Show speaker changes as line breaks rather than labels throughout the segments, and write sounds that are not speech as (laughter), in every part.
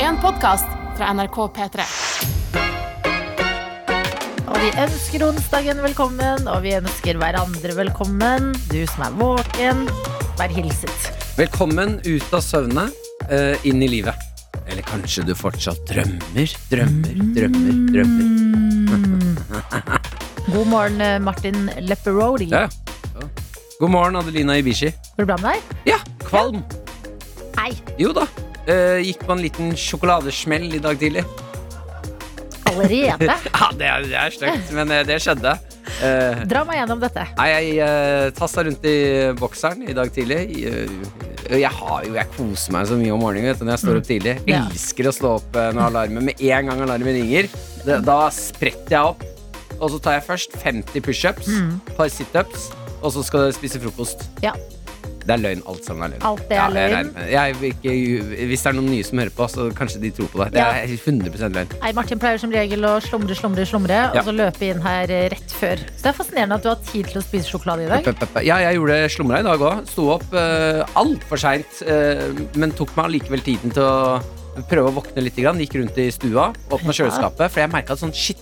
en podkast fra NRK P3.
Og vi ønsker onsdagen velkommen, og vi ønsker hverandre velkommen. Du som er våken, vær hilset.
Velkommen ut av søvne, eh, inn i livet. Eller kanskje du fortsatt drømmer, drømmer, drømmer. drømmer
Mm. God morgen, eh, Martin Lepperodi.
ja, ja. Ja. God morgen, Adelina Ibishi.
Går det bra med deg?
Ja, kvalm.
Hei.
Jo da. Eh, gikk på en liten sjokoladesmell i dag tidlig. (laughs)
Allerede?
Ja, Det er, det er stygt, men eh, det skjedde. Eh,
Dra meg gjennom dette.
Nei, jeg uh, tassa rundt i bokseren i dag tidlig. Eh, jeg, har jo, jeg koser meg så mye om morgenen vet du, når jeg står opp tidlig.
Mm. Ja.
Elsker å stå opp eh, når alarmen Med en gang alarmen ringer,
Mm.
det, da spretter jeg opp. Og så tar jeg først 50 pushups,
Mm.
et par situps, og så skal jeg spise frokost.
Ja.
Det er løgn. Alt sammen er løgn.
Alt det er
jeg
løgn.
regner med det. Jeg, vil ikke, hvis det er noen nye som hører på, så kanskje de tror på det. Det
Ja.
er 100 løgn.
Nei, Martin pleier som regel å slumre, slumre, slumre,
Ja.
og så løpe inn her eh, rett før. Så det er fascinerende at du har tid til å spise sjokolade i
(laughs)
dag.
Pe- pe- pe- Ja, jeg gjorde slumra i dag òg. Sto opp uh, altfor seint, eh, men tok meg allikevel tiden til å prøve å våkne litt. Grann. Gikk rundt i stua, åpna
Ja.
kjøleskapet, for jeg merka at sånn shit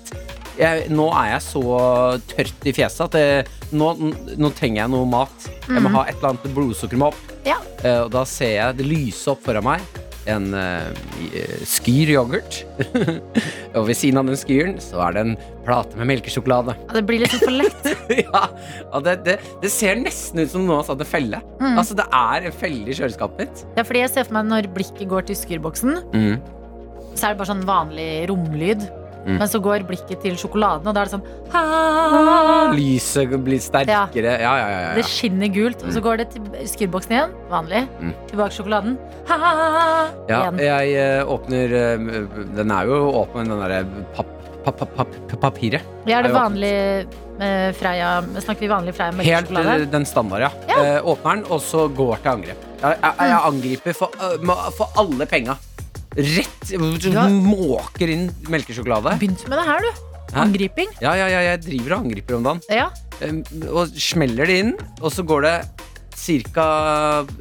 jeg, Nå er jeg så tørt i fjeset at eh, nå, nå trenger jeg noe mat. Jeg må ha et eller annet blodsukker må opp.
Mhm. Ja.
Eh, og da ser jeg det lyse opp foran meg. En eh, i- eh, skyr yoghurt. (laughs) og ved siden av den skyren så er det en plate med melkesjokolade
Det blir liksom for lett.
(laughs) ja, og det, det, det ser nesten ut som noen har satt en felle.
Mm.
Altså, det er en felle i kjøleskapet mitt.
Det er fordi jeg ser for meg når blikket går til skurboksen, så er det bare sånn vanlig romlyd.
Mm.
Men så går blikket til sjokoladen, og da er det sånn «Ah!»
Lyset blir sterkere. Ja, ja, ja. ja,
Det
ja.
skinner gult, og så går det til skuddboksen igjen. Vanlig.
Mm.
Tilbake til sjokoladen. «Ah!»
ja
Igjen.
jeg eh, åpner eh, Den er jo åpen, den derre papp, papp, papp, papp, papiret.
Ja, er det
jeg har
vanlig eh, Freia Snakker vi vanlig Freia
Helt eh,
mørkesjokolade?
den standard, ja. Eh, åpner den, og så går til angrep. Jeg, jeg,
Mm.
jeg angriper for, eh, ma- for alle penga. Rett
har-
Måker inn melkesjokolade.
Begynte med det her, du.
Hæ?
Angriping.
Ja, ja, ja, jeg driver og angriper om dagen.
Ja.
Um, og smeller det inn, og så går det cirka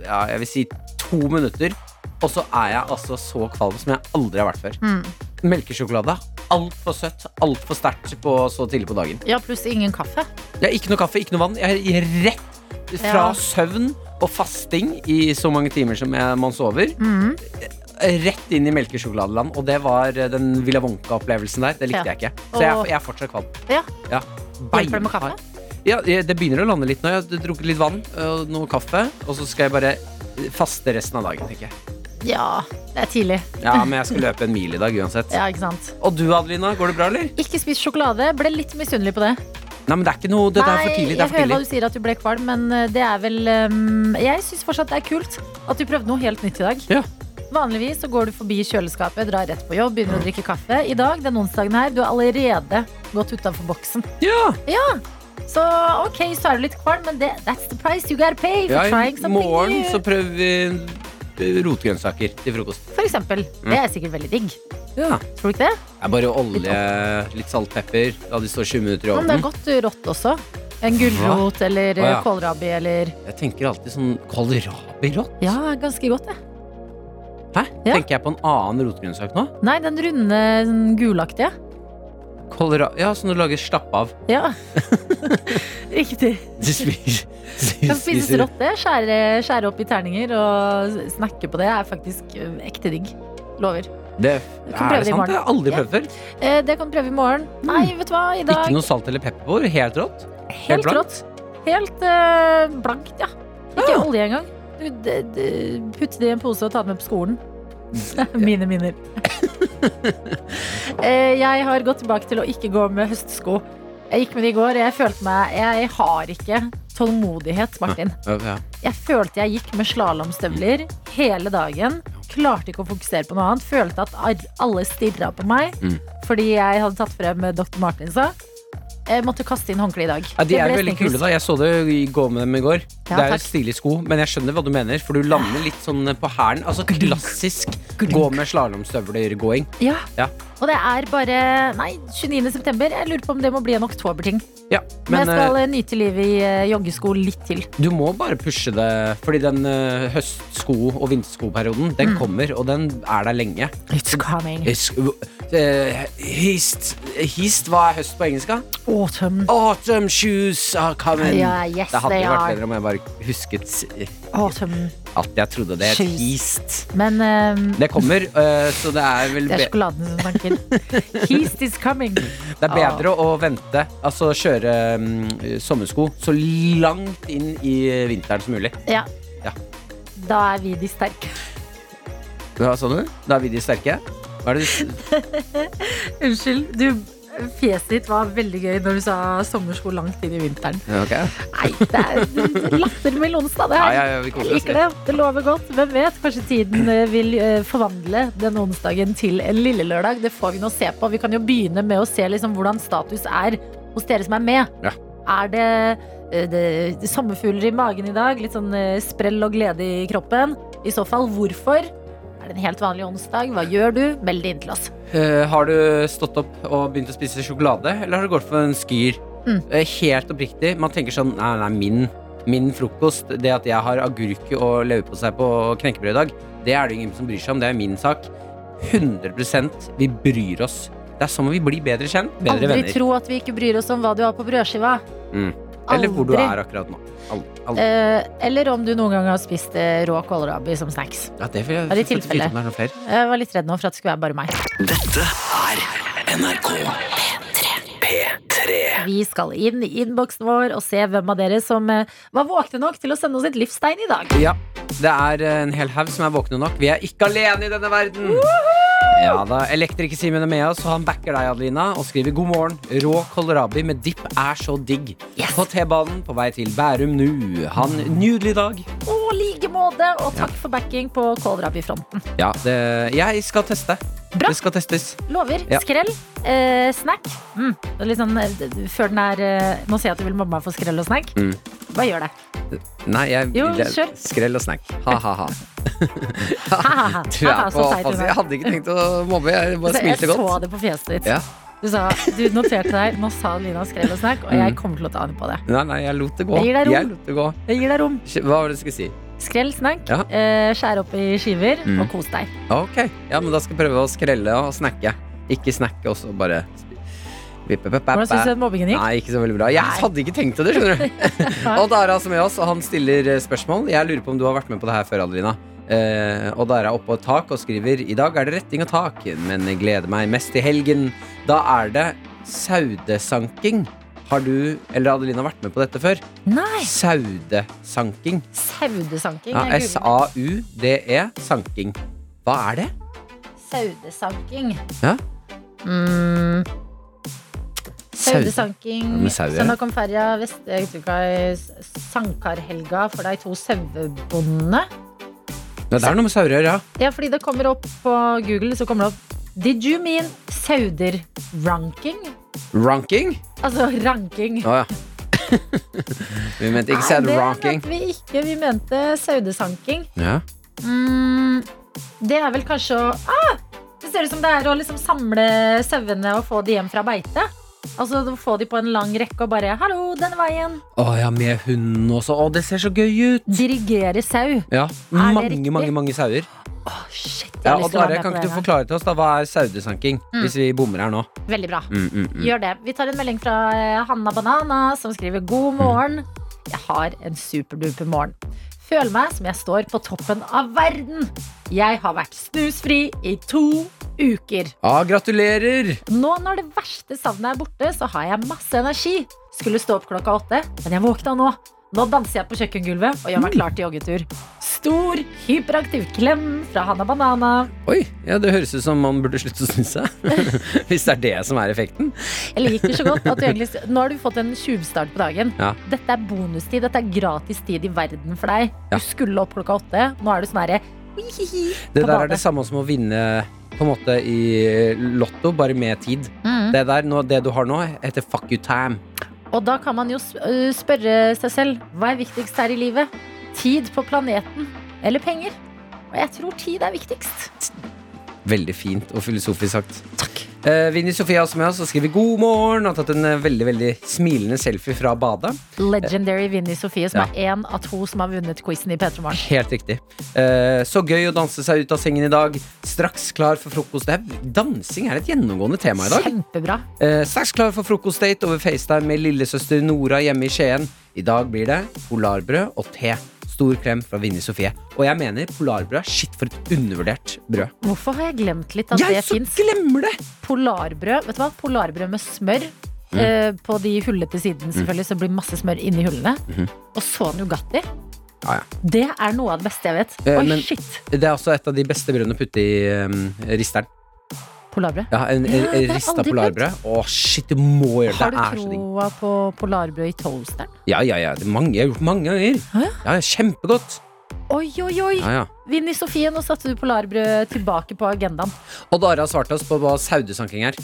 ja, jeg vil si to minutter, og så er jeg altså så kvalm som jeg aldri har vært før.
Mm.
Melkesjokolade. Altfor søtt, altfor sterkt på så tidlig på dagen.
ja, pluss ingen kaffe.
Jeg har ikke noe kaffe, ikke noe vann. Jeg er rett fra
Ja.
søvn og fasting i så mange timer som jeg, man sover,
Mm.
rett inn i melkesjokoladeland. Og det var eh, den Villa Wonka-opplevelsen der. Det likte
Ja.
jeg ikke. Så jeg, er-
Og-
jeg er fortsatt kvalm.
Ja.
Ja.
Hjelper det med
Beinhard.
kaffe?
Ja, det det begynner å lande litt nå. Jeg har drukket litt vann og noe kaffe. Og så skal jeg bare faste resten av dagen. tenker jeg.
Ja. Det er tidlig.
Ja, Men jeg skal løpe en mil i dag uansett.
Ja, ikke sant.
Og du, Adelina, går det bra, eller?
Ikke spis sjokolade. Ble litt misunnelig på det.
Nei, men det er ikke noe, det, det er for tidlig. Det er
jeg
for
hører hva
tidlig.
du sier at du ble kvalm, men eh, det er vel ehm, Jeg syns fortsatt det er kult at du prøvde noe helt nytt i dag.
Ja.
Vanligvis så går du forbi kjøleskapet, drar rett på jobb, begynner å drikke kaffe. I dag, den onsdagen her, du har allerede gått utafor boksen.
Ja,
Så ok, så er du litt kvalm, men det, that's the price you gotta pay for
ja
trying
I
something
morgen
new.
så prøver vi rotgrønnsaker til frokost.
For eksempel.
Mm.
Det er sikkert veldig digg.
Ja.
Tror du ikke det?
Det er bare olje, litt saltpepper. La de stå 20 minutter i
Ja, Men det er
ovnen.
godt rått også. En gulrot eller eh,
Å, ja.
kålrabi eller
Jeg tenker alltid sånn kålrabirått.
Ja, ganske godt, det.
Hæ?
Ja.
Tenker jeg på en annen rotgrønnsak nå?
Nei, den runde, sånn gulaktige.
Kålra ja, som du lager slappe av. (laughs)
Ja. Riktig.
Du spiser,
Kan spises rått, det. Skjære, skjære opp i terninger og snakke på det er faktisk eh, ekte digg. Lover.
Det,
Du kan prøve det i
er det sant?
morgen.
Jeg har aldri
Ja.
prøvd før.
Eh, det kan du prøve i morgen. Nei, vet du hva, i dag
Mm. Ikke noe salt eller pepper på. Helt
(laughs)
rått.
helt
blankt.
rått. Helt eh, blankt, ja. Ikke
Ja.
olje engang. Du, d- d- Putt det i en pose og ta det med på skolen. (laughs) Mine minner.
(laughs)
Eh, jeg har gått tilbake til å ikke gå med høstsko. Jeg gikk med det i går. og Jeg følte meg Jeg har ikke tålmodighet, Martin.
Ja, ja.
Jeg følte jeg gikk med slalåmstøvler hele dagen. Klarte ikke å fokusere på noe annet. Følte at ar- alle stirra på meg
Mm.
fordi jeg hadde tatt frem Dr. Martinsa. Jeg måtte kaste inn håndkleet i dag.
Ja, de
Det
er
ble
veldig
stinkers.
kule, da. Jeg så det i- gå med dem i går.
Ja,
det er jo
takk.
stilige sko, men jeg skjønner hva du mener, for du lander litt sånn på hælen. Altså klassisk Gå med slalåmstøvler-gåing.
Ja.
Ja.
Og det er bare Nei, 29. september. Jeg lurer på om det må bli en oktoberting.
Ja,
Men
men
jeg skal eh, nyte livet i eh, joggesko litt til.
eh, du må bare pushe det, fordi den eh, høstsko- og vinterskoperioden,
Mm.
den kommer, og den er der lenge.
It's coming.
It's, eh, hist, hist, hva er høst på engelsk? da?
Autumn.
Autumn shoes are coming.
Ja, yes,
det hadde
they
jo vært
are.
bedre om jeg bare husket s-
Autumn.
at jeg trodde det het
Shoes.
hist.
Men eh,
Det kommer, (laughs) eh, så det er vel
det er
be
sjokoladen som
(laughs)
snakker. Heast is coming.
det er bedre
Ah.
å vente. Altså kjøre mm, sommersko så langt inn i vinteren som mulig.
Ja.
Ja.
Da er vi de sterke.
Hva sa du? Da er vi de sterke. Hva er det du s-
Unnskyld. Du, fjeset ditt var veldig gøy når du sa sommersko langt inn i vinteren.
Ja, ok.
Nei, det er latter med onsdag, det
Ja,
her.
ja, ja, vi
Jeg
koser oss.
liker det. Det lover godt. Hvem vet? Kanskje tiden eh, vil eh, forvandle den onsdagen til en lille lørdag. Det får vi nå se på. Vi kan jo begynne med å se liksom hvordan status er hos dere som er med.
Ja.
Er det, eh, det, det sommerfugler i magen i dag? Litt sånn eh, sprell og glede i kroppen? I så fall, hvorfor? Er det en helt vanlig onsdag? Hva gjør du? Meld det inn til oss.
Eh, har du stått opp og begynt å spise sjokolade, eller har du gått for en skyr?
Mm.
Eh, helt oppriktig. Man tenker sånn Nei, nei, min, min frokost, det at jeg har agurk og leverpostei på knekkebrød i dag, det er det ingen som bryr seg om. Det er min sak. 100 vi bryr oss. Det er sånn vi blir bedre kjent. Bedre
Aldri
venner.
tro at vi ikke bryr oss om hva du har på brødskiva.
Mm. Eller hvor du
Aldri.
er akkurat nå. Aldri. Aldri.
Eh, eller om du noen gang har spist eh, rå kålrabi som snacks.
Ja, det får jeg
er det
får jeg
tilfelle?
vite om det er noen flere.
Jeg var litt redd nå for at det skulle være bare meg. Vi skal inn i innboksen vår og se hvem av dere som eh, var våkne nok til å sende oss et livstegn i dag.
Ja, det er eh, en hel haug som er våkne nok. Vi er ikke alene i denne verden. Ja da, Elektriker-Simen er med oss, og han backer deg, Adelina, og skriver god morgen. Rå kålrabi med dipp er så digg.
Yes.
På T-banen på vei til Bærum nå. Han nydelig dag.
Å, like måte! Og takk for backing på kålrabifronten.
Ja, det, jeg skal teste.
Bra.
Det skal testes.
Lover.
Ja.
Skrell. Eh, snack. Mm. det er Litt sånn, eh, d- d- før den er eh, Nå ser jeg at du vil mamma få skrell og snack.
Mm.
Hva gjør det?
Nei, jeg
Jo,
det-
kjør.
Skrell og snack.
(laughs)
Ha-ha-ha. (laughs)
Ha-ha-ha.
Du er
Ha-ha,
på
så teit
offensiv.
hun er.
Jeg hadde ikke tenkt å mobbe, jeg bare
Så
smilte
Jeg så
godt.
det på fjeset ditt.
Ja.
Du, sa, du noterte deg Nå sa Lina skrell og snack, og
Mm.
jeg kommer til å ta henne på det.
Nei, nei, jeg lot det gå.
Jeg gir deg rom.
Jeg lot det gå.
Jeg gir deg rom.
Hva var det du skulle si?
Skrell, snack,
Ja.
eh, skjær opp i skiver
Mm.
og kos deg.
Ok, ja, men da skal jeg prøve å skrelle og snakke. Ikke snakke og så bare sp- vippe, peppe,
Hvordan syns du
peppe.
at mobbingen gikk?
Nei, ikke så veldig bra. Jeg
Nei.
hadde ikke tenkt til det,
(laughs)
skjønner du. Odd Ara som er med oss, og han stiller eh, spørsmål. Jeg lurer på om du har vært med på det her før, Adelina. Eh, Odd Ara er oppå et tak og skriver I dag er det retting og tak, men jeg gleder meg mest til helgen. Da er det saudesanking. Har du eller Adelina vært med på dette før?
Nei!
Saudesanking.
Saudesanking.
Ja,
jeg googler.
S-a-u-d-e. E, Sanking. Hva er det?
Saudesanking.
Ja?
Mm,
Saude- Ja,
saudesanking.
men sau, ja.
Søndag kom ferja Vest-Øytukai sankarhelga for de to sauebondene.
Ja, det er noe med sauer å gjøre, ja.
Ja, fordi det kommer opp på Google, så kommer det opp Did you mean sauder ranking?
Ranking?
Altså ranking.
Å ja. (laughs) Vi mente ikke said
Nei,
ranking.
Det mente vi ikke. Vi mente saudesanking.
Ja.
Mm, det er vel kanskje å ah, Det ser ut som det er å liksom samle sauene og få de hjem fra beite. Altså få de på en lang rekke og bare 'hallo, denne veien'.
Å ja, med hund også. Å, det ser så gøy ut!
Dirigere sau.
Ja,
det
Mange,
riktig?
mange mange sauer.
Åh, shit, jeg
Ja,
har lyst
og
til å
Dare,
være med
kan
på
ikke
det.
du
her.
forklare til oss da, hva er saudesanking?
Mm.
Hvis vi bommer her nå.
Veldig bra.
Mm, mm, mm.
Gjør det. Vi tar en melding fra eh, Hanna Banana, som skriver 'God morgen'. Jeg har en superduper morgen. Føler meg som jeg står på toppen av verden. Jeg har vært snusfri i to uker.
Ja, gratulerer!
Nå når det verste savnet er borte, så har jeg masse energi. Skulle stå opp klokka åtte, men jeg våkna nå. Nå danser jeg på kjøkkengulvet og gjør meg klar til joggetur. Stor, hyperaktiv klem fra Hanna Banana.
Oi, ja, det høres ut som man burde slutte å snuse.
(laughs)
Hvis det er det som er effekten.
Jeg liker så godt at du egentlig Nå har du fått en tjuvstart på dagen.
Ja.
Dette er bonustid. Dette er gratis tid i verden for deg.
Ja.
Du skulle opp klokka åtte. Nå er du sånn herre hihihi
Det
på
der er
badet.
det samme som å vinne på en måte i Lotto, bare med tid.
Mm.
Det der, nå, det du har nå, heter fuck you time.
Og da kan man jo sp- øh, spørre seg selv hva er viktigst her i livet? Tid på planeten eller penger? Og jeg tror tid er viktigst.
Veldig fint og filosofisk sagt.
Takk.
Eh, Vinni Sofie er også med oss og skriver god morgen og har tatt en eh, veldig veldig smilende selfie fra badet.
Legendary Vinni Sofie, som er én av to som har vunnet quizen i P3 Morgen.
Helt riktig. Eh, så gøy å danse seg ut av sengen i dag. Straks klar for frokost. Det er, dansing er et gjennomgående tema i dag.
Kjempebra.
Eh, straks klar for frokostdate over FaceTime med lillesøster Nora hjemme i Skien. I dag blir det polarbrød og te. Stor klem fra Vinni Sofie. Og jeg mener polarbrød er shit for et undervurdert brød.
Hvorfor har jeg glemt litt at
jeg
det
så
fins?
glemmer det!
Polarbrød vet du hva? Polarbrød med smør.
Mm.
eh, På de hullete sidene selvfølgelig Så blir masse smør inni hullene.
Mm-hmm.
Og så Nugatti.
Ja, ja.
Det er noe av det beste jeg vet.
Eh,
Oi,
men-
shit!
Det er også et av de beste brødene å putte i um, risteren.
Polarbrød.
Ja, en
Ja, det har jeg
rista
aldri
polarbrød. Å, shit, du må gjøre det.
Har du
det er så digg.
troa på polarbrød i toasteren?
Ja, ja, ja. Det er mange, jeg har gjort mange ganger.
Hæ?
Ja, ja, kjempegodt.
Oi, oi, oi!
Ja, ja.
Vinni Sofie, nå satte du polarbrød tilbake på agendaen.
Og Dara har svart oss på hva saudesanking er.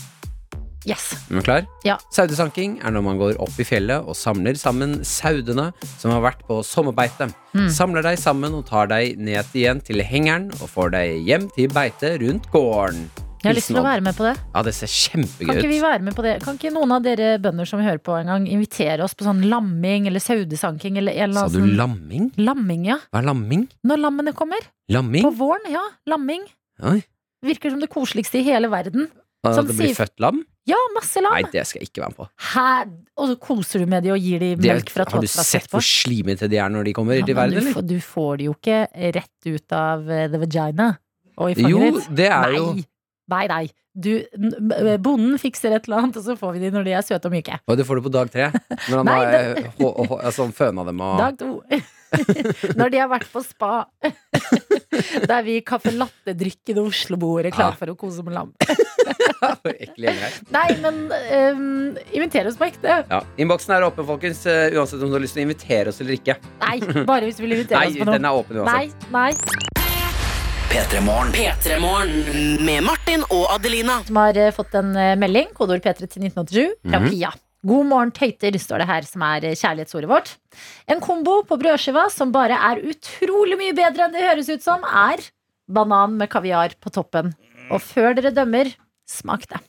Yes!
Er du klar?
Ja.
Saudesanking er når man går opp i fjellet og samler sammen saudene som har vært på sommerbeite.
Hmm.
Samler deg sammen og tar deg ned igjen til hengeren og får deg hjem til beite rundt gården.
Jeg har lyst til å være med på det.
Ja, det ser
Kan ikke vi
kjempegøy ut.
være med på det? Kan ikke noen av dere bønder som hører på en gang, invitere oss på sånn lamming eller saudesanking eller en eller
Sa
annen
du
sånn-
lamming?
Lamming, ja.
Hva er lamming?
Når lammene kommer.
Lamming?
På våren, ja. Lamming.
Oi.
Virker som det koseligste i hele verden.
Ah,
Som
det blir
sier-
født lam?
Ja, masse lam.
Nei, det skal jeg ikke være med på.
Hæ? Og så koser du med de og gir de
Det,
melk fra
har du
tåteflaske
sett hvor slimete de er når de kommer
Ja,
til
men
verden,
du,
eller?
får- du får det jo ikke rett ut av eh, the vagina og i fanget
Jo,
ditt.
det er jo
Nei. Nei, nei. Du, n- m- eh, bonden fikser et eller annet, og så får vi de når de er søte og myke.
Og det får du på dag tre.
(laughs)
Når han
Nei,
har eh, hå- hå- altså, han føna dem og (laughs)
Dag to. (laughs) Når de har vært på spa. (laughs) Der vi kaffe latte-drikkende osloboere
Ja.
klar for å kose med lam.
For ekle gjenger her.
Nei, men um, inviter oss på ekte.
Ja. Innboksen er åpen, folkens. eh, Uansett om du har lyst til å invitere oss eller ikke.
Nei, bare hvis du vil invitere
Nei,
oss på
den
noe.
er åpen
Nei,
uansett.
nei.
P3morgen. Med Martin og Adelina.
Som har eh, fått en eh, melding, kodeord P3 til 1987, fra
Mhm.
Pia. God morgen, tøyter, står det her, som er eh, kjærlighetsordet vårt. En kombo på brødskiva som bare er utrolig mye bedre enn det høres ut som, er banan med kaviar på toppen. Og før dere dømmer, smak det.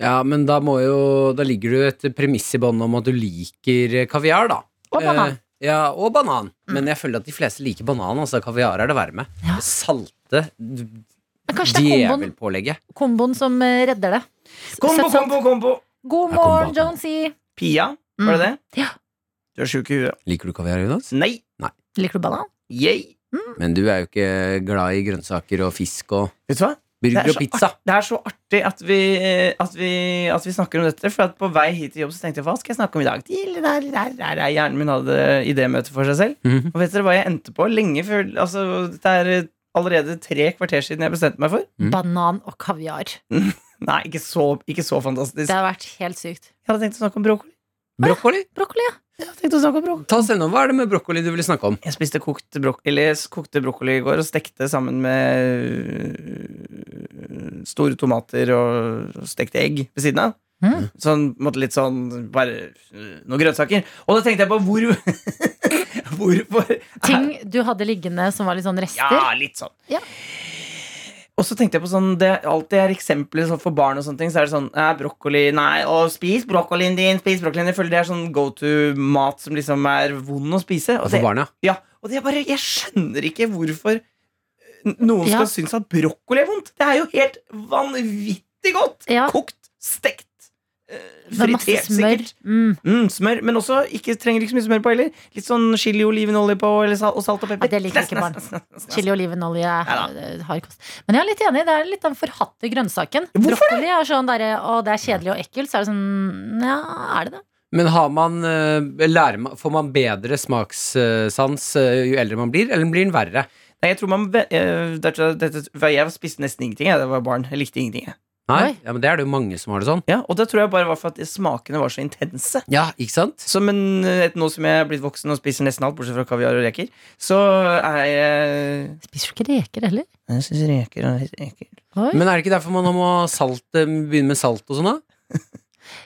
Ja, men da må jo Da ligger du et premiss i bånn om at du liker eh, kaviar, da.
Og banan. Mm.
Eh, ja, og banan. Men jeg føler at de fleste liker banan. Altså, kaviar er det verre med.
Ja.
Det Salte d-
Men kanskje det er komboen,
djevelpålegget.
komboen som eh, redder det. S-
Kombo,
søtt sant.
kombo, kombo!
God
Ja,
morgen,
kombo.
Jonesy.
Pia,
Mm.
var det det?
Ja.
Du er sjuk i huet.
Liker du kaviar, Jonas?
Nei!
Liker du banan?
Yay!
Men du er jo ikke glad i grønnsaker og fisk og
Vet du hva? Det
burger
er
og
så
pizza.
Det er så artig at vi, at vi, at vi snakker om dette. For at på vei hit til jobb så tenkte jeg hva skal jeg snakke om i dag? Til- der, der, der, der. Hjernen min hadde idémøte for seg selv.
Mhm.
Og vet dere hva jeg endte på? Lenge før altså, Det er allerede tre kvarter siden jeg bestemte meg for.
Mm.
Banan og kaviar.
Nei, ikke så, ikke så fantastisk.
Det har vært helt sykt.
Jeg hadde tenkt å snakke om brokkoli.
Brokkoli?
Brokkoli, ja.
Jeg hadde tenkt å snakke om brokkoli.
Ta oss gjennom. Hva er det med brokkoli du ville snakke om?
Jeg spiste kokt brokkoli, eller jeg kokte brokkoli i går og stekte sammen med øh, store tomater og stekte egg ved siden av.
Mm.
Sånn, på en måte litt sånn bare øh, noen grønnsaker. Og da tenkte jeg på hvor (laughs) Hvorfor
Ting
(laughs)
du hadde liggende som var litt sånn rester.
Ja, litt sånn.
Ja.
Og så tenkte jeg på sånn det, Alltid er eksempler sånn for barn og sånne ting. Så er det sånn eh, brokkoli Nei, å, spis brokkolien din! Spis brokkolien. Jeg føler det er sånn go to-mat som liksom er vond å spise. Og
For
det,
Altså barna?
ja, og det er bare, jeg skjønner ikke hvorfor n- noen
Ja.
skal synes at brokkoli er vondt. Det er jo helt vanvittig godt!
Ja.
Kokt, stekt, eh,
Med masse
fritert
smør.
sikkert.
Mm.
Mm, smør, men også ikke trenger ikke så mye smør på heller. Litt sånn chili, olivenolje på, eller sal og salt og pepper.
Ja, det liker ikke barn. Chili og olivenolje er
Neida.
hard kost. Men jeg er litt enig, det er litt den forhatte grønnsaken.
Hvorfor det?
Brokkoli er sånn derre å, det er kjedelig og ekkelt, så er det sånn ja, er det det?
Men har man, eh, lærer man, får man bedre smakssans eh, jo eldre man blir, eller blir den verre?
Nei, jeg tror man be- eh, dette, dette, for Jeg spiste nesten ingenting jeg, da jeg var barn. Jeg likte ingenting. Jeg.
Nei,
Oi.
ja, men Det er det jo mange som har det sånn.
Ja, og det tror jeg bare var for at smakene var så intense.
Ja, ikke sant?
Så, men eh, nå som jeg er blitt voksen og spiser nesten alt, bortsett fra kaviar og reker, så er jeg
Spiser du ikke reker heller?
Jeg syns reker er reker.
Oi.
Men er det ikke derfor man må ha salt, eh, begynne med salt og sånn, da?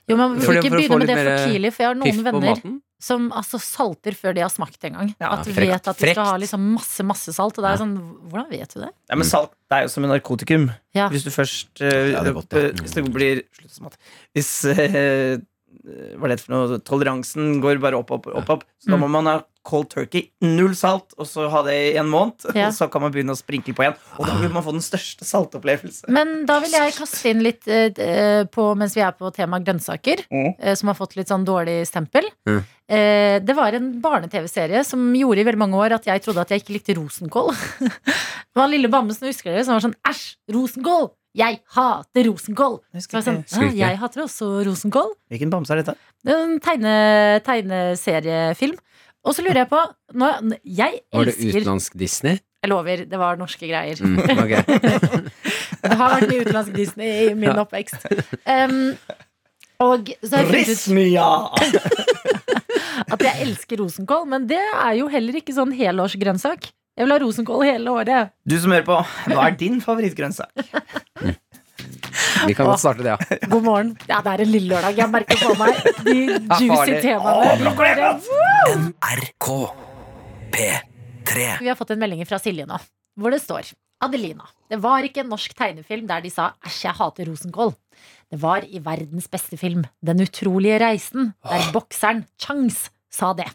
Jo, men Vi
For
vil
det-
ikke
for å få
begynne med
litt
det for
mer eh,
tidlig, for jeg har
Piff
noen
på
venner
maten.
som altså, salter før de har smakt engang.
Ja,
at de
frekt.
vet at de skal ha
Frekt.
liksom masse masse salt. Og det er sånn, Hvordan vet du det?
Ja, men salt det er jo som en narkotikum.
Ja.
Hvis du først eh,
Ja, det er godt, ja.
eh, Hvis det blir Slutt å smatte. Hvis eh, Hva er det for noe? Toleransen går bare opp, opp, opp. opp.
Mm.
Så da må man ha cold turkey, null salt, og så ha det i en måned. (laughs)
Ja.
Og så kan man begynne å sprinkle på igjen. Og da vil man få den største saltopplevelse.
Men da vil jeg kaste inn litt eh, d- eh, på, mens vi er på tema grønnsaker,
Mm.
eh, som har fått litt sånn dårlig stempel.
Mm.
Eh, det var en barne-TV-serie som gjorde i veldig mange år at jeg trodde at jeg ikke likte rosenkål. (laughs) det var lille bamsen, husker dere, som var sånn æsj, rosenkål! Jeg hater rosenkål!
Jeg
Så
husker
var jeg sånn,
ikke.
«Hæ, jeg hater også rosenkål.
Hvilken bamse er dette?
Det er En tegne, tegneseriefilm. Og så lurer jeg på nå, Jeg
Var det
elsker
utenlandsk Disney?
Jeg lover, det var norske greier.
Mm, ok.
Det har vært mye utenlandsk Disney i min oppvekst. Um, og så har jeg funnet
Rismia!
ut at jeg elsker rosenkål, men det er jo heller ikke sånn helårsgrønnsak. Jeg vil ha rosenkål hele året.
Du som hører på, hva er din favorittgrønnsak?
Vi
(laughs)
kan godt starte det, ja.
God morgen. Ja, det er en lille lørdag. Jeg merker på meg de juicy
farlig.
temaene. De bare,
RK P3
Vi har fått en melding fra Silje nå, hvor det står Adelina, det var ikke en norsk tegnefilm der de sa 'æsj, jeg hater rosenkål'. Det var i verdens beste film, 'Den utrolige reisen', der bokseren Changs sa det.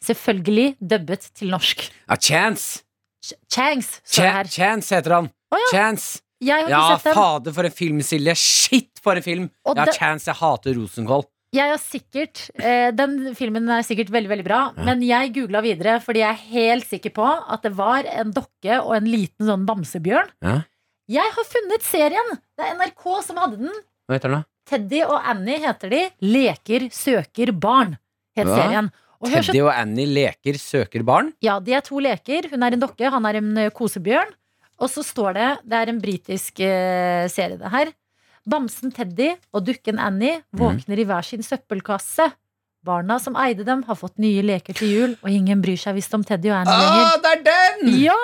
Selvfølgelig dubbet til norsk.
ja Chance!
Ch- Changs står det
Cha-
her.
Chance heter han.
Å ja.
Chance!
Jeg har ikke
Ja,
sett den.
fader, for en film, Silje. Shit, for en film!
Og
Ja,
det-
Chance, jeg hater rosenkål.
Jeg har sikkert, eh, Den filmen er sikkert veldig veldig bra, men jeg googla videre fordi jeg er helt sikker på at det var en dokke og en liten sånn bamsebjørn.
Ja.
Jeg har funnet serien! Det er NRK som hadde den.
Hva heter den, da?
Teddy og Annie heter de. Leker søker barn, het
Hva?
serien. Og hør så,
Teddy og Annie leker søker barn.
ja, De er to leker. Hun er en dokke, han er en ø, kosebjørn. Og så står det Det er en britisk ø, serie, det her. Bamsen Teddy og dukken Annie våkner i hver sin søppelkasse. Barna som eide dem, har fått nye leker til jul, og ingen bryr seg visst om Teddy og Annie lenger.
Ah, det er den!
Ja,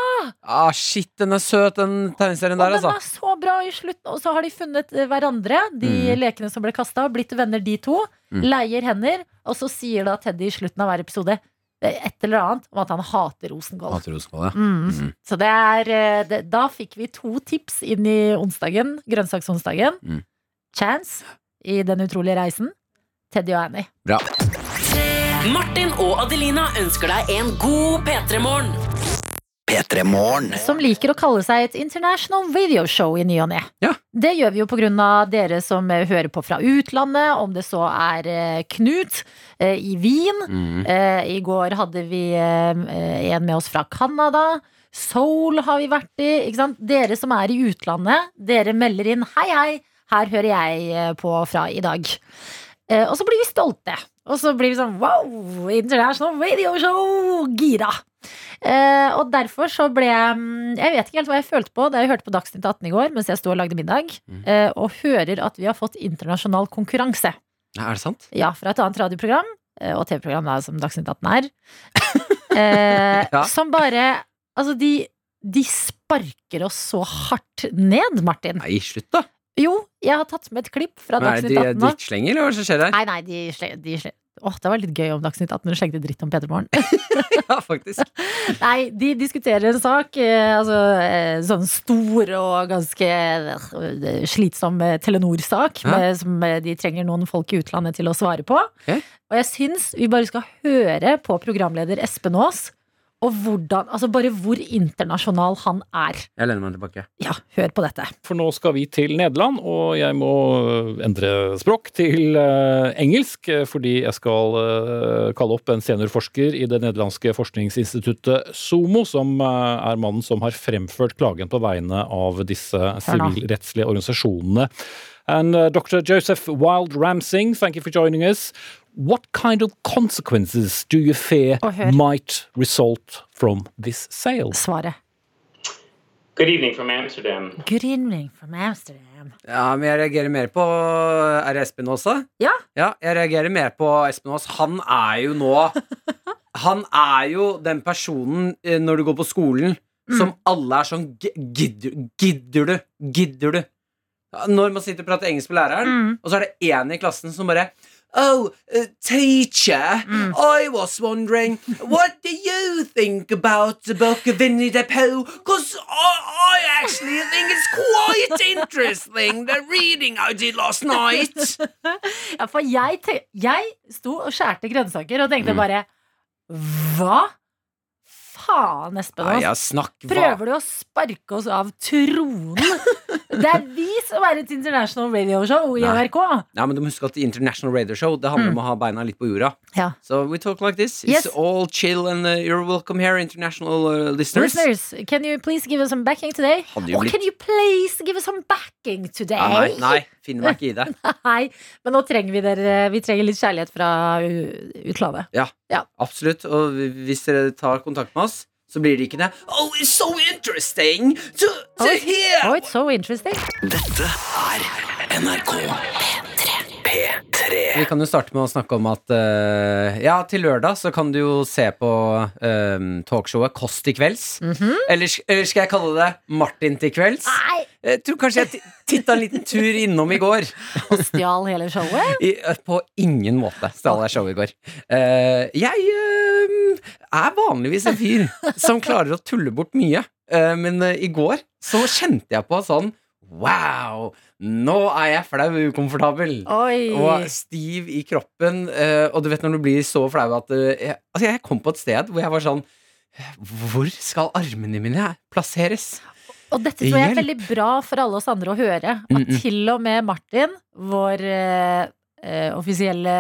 Ah, shit, den er søt, den tegneserien
og
der,
den
altså.
er så bra i slutten. Og så har de funnet eh, hverandre, de lekene som ble kasta, blitt venner de to.
Mm.
Leier hender. Og så sier da Teddy i slutten av hver episode eh, et eller annet om at han hater Rosenkål.
Hater rosenkål, ja.
Mm.
Mm.
Så det er eh, det, Da fikk vi to tips inn i onsdagen, grønnsaksonsdagen.
Mm.
Chance i Den utrolige reisen. Teddy og Annie.
Bra.
Martin og Adelina ønsker deg en god P3-morgen.
Som liker å kalle seg et international video show i ny og ne.
Ja.
Det gjør vi jo på grunn av dere som eh, hører på fra utlandet, om det så er eh, Knut eh, i Wien.
Mm.
Eh, I går hadde vi eh, eh, en med oss fra Canada. Seoul har vi vært i. Ikke sant? Dere som er i utlandet, dere melder inn 'hei, hei, her hører jeg eh, på fra i dag'. Eh, og så blir vi stolte. Og så blir vi sånn wow, international radio show! Gira. Eh, og derfor så ble jeg mm, Jeg vet ikke helt hva jeg følte på da jeg hørte på Dagsnytt 18 i går mens jeg sto og lagde middag,
Mm.
eh, og hører at vi har fått internasjonal konkurranse.
Er det sant?
Ja, fra et annet radioprogram eh, og TV-program da, som Dagsnytt 18
(laughs)
er. eh,
Ja.
Som bare Altså, de, de sparker oss så hardt ned, Martin.
Nei, slutt, da.
Jo, jeg har tatt med et klipp fra
Men er det
Dagsnytt 18
de-
nå.
drittslenger, eller hva er det som skjer her?
Nei, nei, de sle- de sle- Åh, det var litt gøy om Dagsnytt 18 slengte dritt om Peter Morgen.
(laughs) Ja, faktisk.
Nei, de diskuterer en sak, eh, altså eh, sånn stor og ganske eh, slitsom eh, Telenor-sak,
Hæ?
med- som eh, de trenger noen folk i utlandet til å svare på.
Ok.
Og jeg syns vi bare skal høre på programleder Espen Aas, og hvordan, altså bare hvor internasjonal han er.
Jeg lener meg tilbake.
Ja, hør på dette.
For nå skal vi til Nederland, og jeg må øh, endre språk til øh, engelsk, øh, fordi jeg skal øh, kalle opp en seniorforsker i det nederlandske forskningsinstituttet SOMO, som øh, er mannen som har fremført klagen på vegne av disse
nå.
sivilrettslige organisasjonene. And uh, Dr. Joseph Wild Ramsing, thank you for joining us. What kind of consequences do you fear
Å, hør.
might result from this sale?
Svaret.
Good evening from Amsterdam.
Good evening from Amsterdam.
Ja, men jeg reagerer mer på eh, Er det Espen Aas, da?
Ja.
ja. Jeg reagerer mer på Espen Aas. Han er jo nå Han er jo den personen eh, når du går på skolen, som alle er sånn "Gi- Gidder, gidder du? Gidder du? Når man sitter og prater engelsk med læreren,
Mm.
og så er det én i klassen som bare Oh, uh, teacher,
Mm.
I was wondering What do you think about the Bocavinny Depot? Because I, I actually think it's quite interesting The reading I did last night
(laughs) Ja, for jeg, te jeg sto og skjærte grønnsaker og
Mm.
tenkte bare Hva faen, Espen?
Nei,
ass?
ja, snakk hva
Prøver du å sparke oss av
(laughs)
tronen? Det er vi som er et international radio show i
Nei.
NRK.
Nei, men du må huske at International Radio Show Det handler om å ha beina litt på jorda
Mm. Ja.
So we talk like this
Yes.
It's all chill and uh, you're welcome here International uh, listeners
Listeners, can you please give us some backing today?
Hadde jo
Or
blitt-
can you please give us some backing today?
Ja, Nei, nei, finner meg ikke i det
(laughs) Nei, men nå trenger vi dere Vi trenger litt kjærlighet fra u- utlandet.
Ja,
Ja.
absolutt. Og hvis dere tar kontakt med oss, så blir det ikke det. Oh, it's so interesting to, to
Oi.
hear!
Oh, it's so interesting.
Vi kan jo starte med å snakke om at eh, ja, til lørdag så kan du jo se på eh, talkshowet Kåss til kvelds. eller, sk- eller skal jeg kalle det Martin til kvelds?
Nei,
Jeg tror kanskje jeg ti- titta en liten tur innom i går.
og stjal hele
(laughs)
showet.
I, eh, på ingen måte stjal jeg showet i går. Eh, jeg eh, er vanligvis en fyr som klarer å tulle bort mye, Eh, men eh, i går så kjente jeg på sånn Wow! Nå er jeg flau og ukomfortabel.
Oi.
Og stiv i kroppen. eh, og du vet når du blir så flau at eh, jeg, altså jeg kom på et sted hvor jeg var sånn Hvor skal armene mine plasseres?
Og dette tror jeg er
Hjelp.
veldig bra for alle oss andre å høre. At
Mm, mm.
til og med Martin, vår eh, eh, offisielle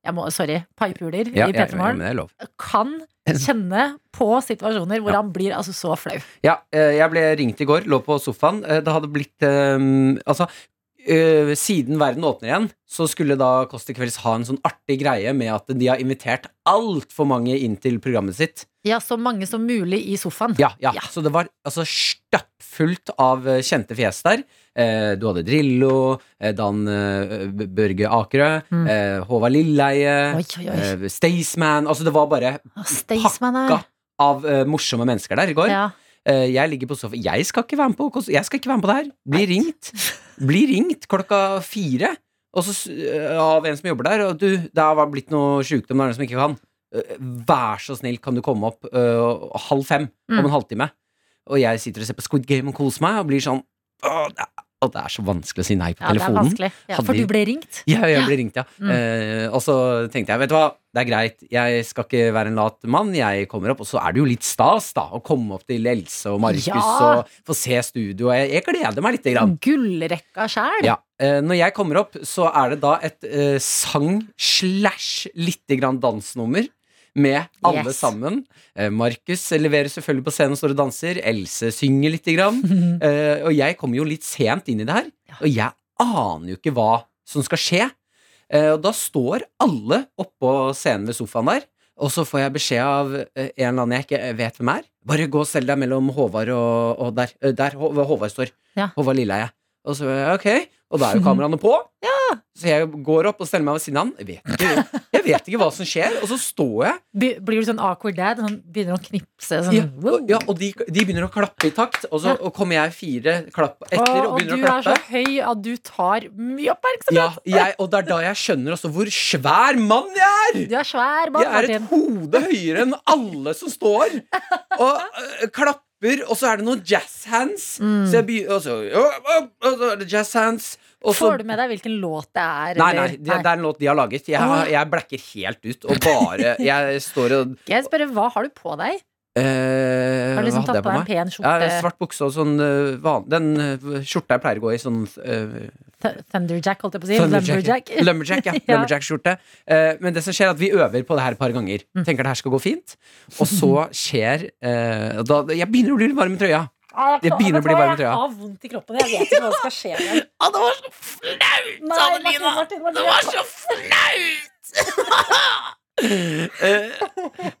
jeg må, Sorry, paipuler i P3 Morgen,
men det er lov.
kan
(laughs)
kjenne på situasjoner hvor han blir altså så flau.
Ja, eh, jeg ble ringt i går, lå på sofaen. Eh, Det hadde blitt eh, Altså, eh, siden verden åpner igjen, så skulle da Kåss til kvelds ha en sånn artig greie med at de har invitert altfor mange inn til programmet sitt.
Ja, så mange som mulig i sofaen.
Ja, ja.
Ja.
Så det var altså stappfullt av eh, kjente fjes der. Eh, Du hadde Drillo, eh, Dan eh, B- Børge Akerø,
Mm.
eh, Håvard Lilleheie,
Oi, oi, oi.
eh, Staysman Altså, det var bare
Staysman er
pakka av eh, morsomme mennesker der i går.
ja.
Eh, Jeg ligger på sofaen Jeg skal ikke være med på kos- Jeg skal ikke være med på det her Bli ringt Bli ringt klokka fire Og så s- eh, av en som jobber der Og du, det har blitt noe sykdom Det er noen som ikke kan Eh, Vær så snill kan du komme opp eh, Halv fem
Mm.
Om en halvtime Og jeg sitter og ser på Squid Game og koser meg Og blir sånn Åh, det er, og det er så vanskelig å si nei på
ja, det er
telefonen
vanskelig. Ja,
Hadde
for
de-
du ble ringt?
ja, jeg ble ringt, ja.
Mm.
Eh, og så tenkte jeg, vet du hva, det er greit. Jeg skal ikke være en lat mann. Jeg kommer opp, og så er det jo litt stas, da, å komme opp til Else og Markus
Ja.
og få se studio. Jeg, jeg gleder meg lite grann.
Gullrekka sjæl?
Ja. Eh, når jeg kommer opp, så er det da et eh, sang slash lite grann dansnummer. Med alle
Yes.
sammen. Eh, Markus leverer selvfølgelig på scenen og står og danser. Else synger lite
(laughs)
grann. Eh, og jeg kommer jo litt sent inn i det her, og jeg aner jo ikke hva som skal skje. Eh, og da står alle oppå scenen ved sofaen der, og så får jeg beskjed av eh, en eller annen jeg ikke vet hvem er. Bare gå og selg deg mellom Håvard og, og der. Eh, Der Hå- Håvard står.
Ja.
Håvard Lilleheie. Og så eh, ok, og da er jo kameraene
(laughs)
på. Så jeg går opp og steller meg ved siden av han. Jeg vet, ikke, jeg vet ikke hva som skjer. Og så står jeg,
Be- Blir du sånn awkward dad? Sånn, begynner å knipse? Sånn,
ja,
wow.
og, ja, og de, de begynner å klappe i takt. Og så
Ja.
og kommer jeg fire klapp etter og
og du
begynner å
er så
klappe.
høy at du tar mye oppmerksomhet!
Ja, jeg, og det er da jeg skjønner også hvor svær mann jeg er!
Du er svær mann,
Jeg er et
Martin.
hode høyere enn alle som står Og øh, klapper Og så er det noen jazz hands
Mm.
Så jeg begynner Og så, øh, øh, og så er det jazz hands og så,
Får du med deg hvilken låt det er?
Nei, nei,
eller?
det, det er en låt de har laget Jeg, har- jeg blacker helt ut Og bare, jeg står og
Jeg spør, hva har du på deg?
eh,
Har du liksom
hva
tatt
hadde jeg
på deg en
meg?
pen
Ja,
skjorte?
svart bukse og sånn øh, van, Den øh, skjorta jeg pleier å gå i Sånn øh,
Th- Thunderjack, holdt jeg på å si.
Lumberjack.
Lumberjack.
(laughs) Lumberjack, ja.
Ja.
Lumberjack-skjorte. Eh, men det som skjer er at vi øver på det her et par ganger. Tenker det her skal gå fint. Og så (laughs) skjer eh, da, Jeg begynner å bli litt varm i trøya.
Ah,
Det begynner å bli varm i
Jeg
trøya.
har Ah, vondt i kroppen. Jeg vet ikke hva som skal skje. igjen.
(laughs) Ah, det var så flaut,
Nei, Martin,
Adelina!
Martin, Martin,
Det var så flaut! (laughs) Eh,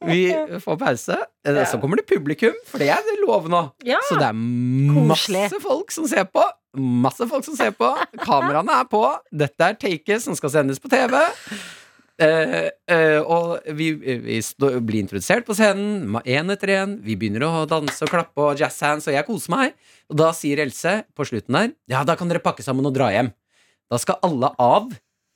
vi får pause. Eh, Så kommer det publikum, for det er det lov nå.
Ja.
Så det er masse
Koselig.
folk som ser på. Masse folk som ser på. Kameraene er på. Dette er taket som skal sendes på TV. Eh, eh, og vi, vi stå- blir introdusert på scenen, ma- en etter en Vi begynner å danse og klappe og jazz hands, og jeg koser meg. Og da sier Else på slutten der Ja, da kan dere pakke sammen og dra hjem. Da skal alle av,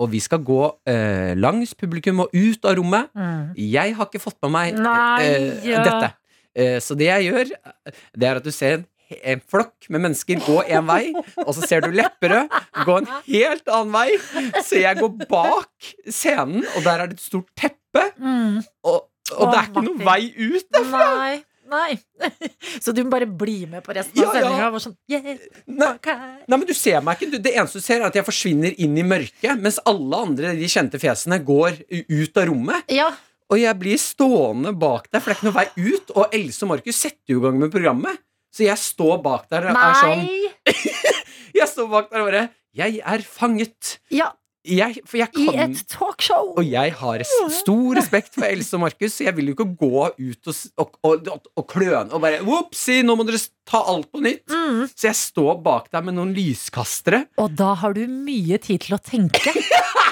og vi skal gå eh, langs publikum og ut av rommet.
Mm.
Jeg har ikke fått med meg eh,
Nei,
eh,
ja.
dette. Eh, så det jeg gjør, eh, det er at du ser en, en flokk med mennesker gå en vei, og så ser du Lepperød gå en helt annen vei. Så jeg går bak scenen, og der er det et stort teppe,
Mm.
og, og
Å,
det er ikke noen
Martin.
vei ut.
Nei. Nei. (laughs) Så du må bare bli med på resten av
Ja, ja.
sendinga. bare Sånn, yeah,
Nei,
fuck her.
nei, men du ser meg ikke. Du, det eneste du ser, er at jeg forsvinner inn i mørket, mens alle andre, de kjente fjesene, går u- ut av rommet.
ja.
Og jeg blir stående bak der, for det er ikke noe vei ut. Og Else og Markus setter jo i gang med programmet. Så jeg står bak der og er sånn
Nei.
Jeg står bak der og bare Jeg er fanget.
Ja,
Jeg, for jeg
i
kan
et talkshow.
Og jeg har res- stor respekt for Else og Markus, så jeg vil jo ikke gå ut og, s- og, og, og, og kløne og bare Vopsi, nå må dere s- ta alt på nytt.
Mm.
Så jeg står bak der med noen lyskastere.
Og da har du mye tid til å tenke.
(laughs)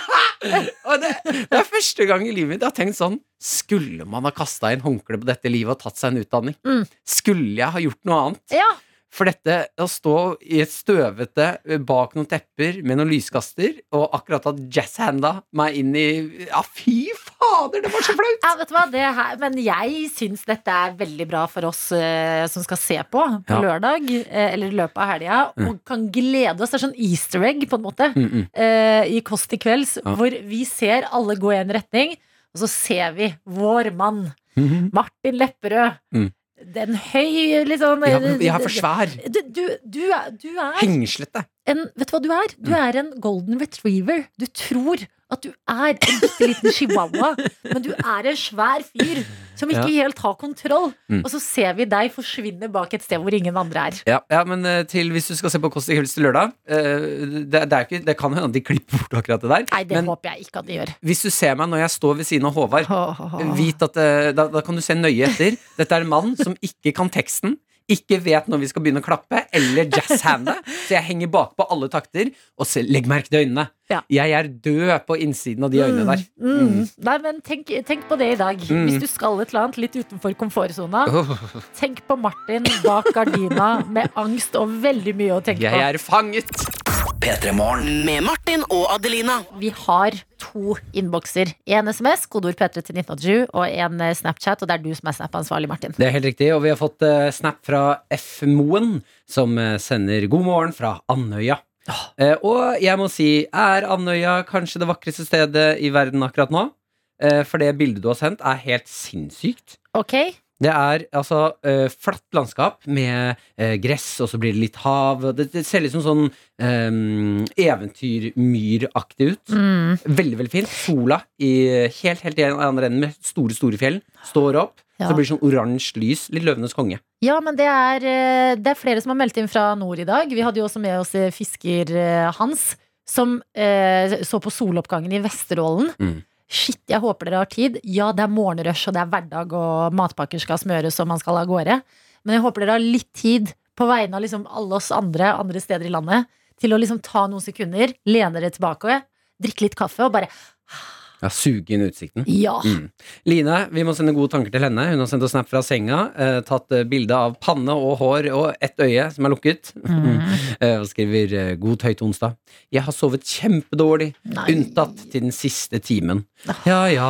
Og det, det er første gang i livet mitt jeg har tenkt sånn Skulle man ha kasta inn håndkle på dette livet og tatt seg en utdanning?
Mm.
Skulle jeg ha gjort noe annet?
Ja.
For dette å stå i et støvete eh, bak noen tepper med noen lyskaster, og akkurat at jazzhanda meg inn i Ja, fy fader, det var så flaut!
Ja, vet du hva? Det her, men jeg syns dette er veldig bra for oss eh, som skal se på på
Ja.
lørdag, eh, eller i løpet av helga, og kan glede oss. Det er sånn easter egg, på en måte,
Mm -mm.
eh, i Kåss til kvelds,
Ja.
hvor vi ser alle gå i en retning, og så ser vi vår mann,
Mhm.
Martin Lepperød.
Mm.
Den høy, liksom
Jeg, er- jeg er for svær.
Du, du, du er, du er
Hengslete.
en Vet du hva du er? Du
Mm.
er en golden retriever. Du tror at du er en bitte liten
(laughs)
chihuahua, men du er en svær fyr som ikke helt har kontroll.
Mm.
Og så ser vi deg forsvinne bak et sted hvor ingen andre er.
Ja, ja men eh, til hvis du skal se på Kåss til Kvelds til lørdag eh, det, det, er ikke, det kan hende at de klipper bort akkurat det der.
Nei, det
men
håper jeg ikke at de gjør.
hvis du ser meg når jeg står ved siden av Håvard,
Ah.
Vit at eh, da, da kan du se nøye etter. Dette er en mann som ikke kan teksten. Ikke vet når vi skal begynne å klappe, eller jazzhande. Så jeg henger bakpå alle takter. Og se, legg merke til øynene.
Ja.
Jeg er død på innsiden av de øynene der.
Mm. Mm. Nei, men tenk, tenk på det i dag.
Mm.
Hvis du skal et eller annet litt utenfor komfortsona,
Åh,
tenk på Martin bak gardina med angst og veldig mye å tenke
jeg
på.
er fanget!
Med Martin og Adelina.
Vi har to innbokser. En SMS, kodeord P3 til 1987, og en eh, Snapchat, og det er du som er Snap-ansvarlig, Martin.
Det er helt riktig, og vi har fått eh, snap fra F. Moen, som eh, sender god morgen fra Andøya.
Ah.
Eh, og jeg må si, er Andøya kanskje det vakreste stedet i verden akkurat nå? Eh, for det bildet du har sendt, er helt sinnssykt.
Ok?
Det er altså eh, flatt landskap med eh, gress, og så blir det litt hav. og Det, det ser litt som sånn um, eventyrmyraktig ut.
Mm.
Veldig, veldig fint. Sola i helt, helt i den andre enden med store, store fjell står opp.
Ja.
Så blir det sånn oransje lys. Litt Løvenes konge.
Ja, men det er, eh, det er flere som har meldt inn fra nord i dag. Vi hadde jo også med oss eh, fisker eh, Hans, som eh, så på soloppgangen i Vesterålen.
Mm.
Shit, jeg håper dere har tid. Ja, det er morgenrush, og det er hverdag, og matpakker skal smøres, og man skal av gårde. Men jeg håper dere har litt tid på vegne av liksom alle oss andre andre steder i landet til å liksom ta noen sekunder, lene dere tilbake, drikke litt kaffe og bare
Ja, Suge inn utsikten.
Ja!
Mm. Line, vi må sende gode tanker til henne. Hun har sendt oss snap fra senga. Eh, tatt eh, bilde av panne og hår og ett øye som er lukket.
Mm.
(laughs) eh, og skriver eh, 'God høyt onsdag'. Jeg har sovet kjempedårlig.
Nei, Ah.
Unntatt til den siste timen. Ja, ja.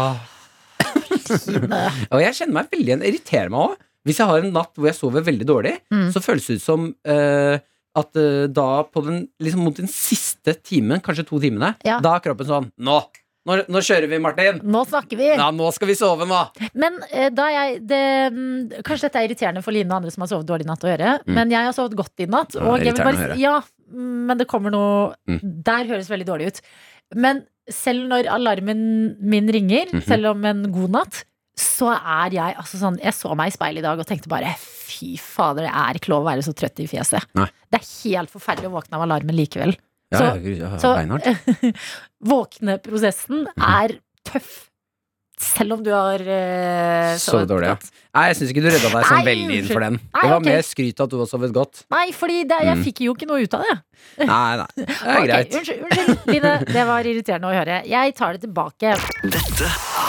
Tine.
(laughs) Og jeg kjenner meg veldig igjen. Irriterer meg òg. Hvis jeg har en natt hvor jeg sover veldig dårlig,
Mm.
så føles det ut som eh, at eh, da på den, liksom mot den siste timen, kanskje to timene,
Ja.
da er kroppen sånn Nå! Nå, nå kjører vi, Martin!
Nå snakker vi!
Ja, nå skal vi sove, nå!
Men eh, da jeg det, mm, Kanskje dette er irriterende for Line og andre som har sovet dårlig i natt å gjøre,
Mm.
men jeg har sovet godt i natt.
Ja,
Og jeg vil
irriterende
bare,
å høre.
si- ja, mm, men det kommer noe
Mm.
Der høres veldig dårlig ut. Men selv når alarmen min ringer,
Mhm.
selv om en god natt, så er jeg altså sånn Jeg så meg i speilet i dag og tenkte bare fy fader, det er ikke lov å være så trøtt i fjeset.
Nei.
Det er helt forferdelig å våkne av alarmen likevel.
Ja,
Så- (laughs)
ja, Mhm. ja,
Så
beinhardt.
våkneprosessen er tøff. Selv om du har eh,
Sovet dårlig, ja. Nei, jeg syns ikke du redda deg sånn
Nei,
veldig inn
unnskyld.
for den.
Nei,
Det var
ok.
mer skryt av at du har sovet godt.
Nei, fordi det, jeg
Mm.
fikk jo ikke noe ut av det.
Nei, nei. Det er
Ok,
greit.
Unnskyld, unnskyld, Line.
(laughs)
Det var irriterende å høre. Jeg tar det tilbake.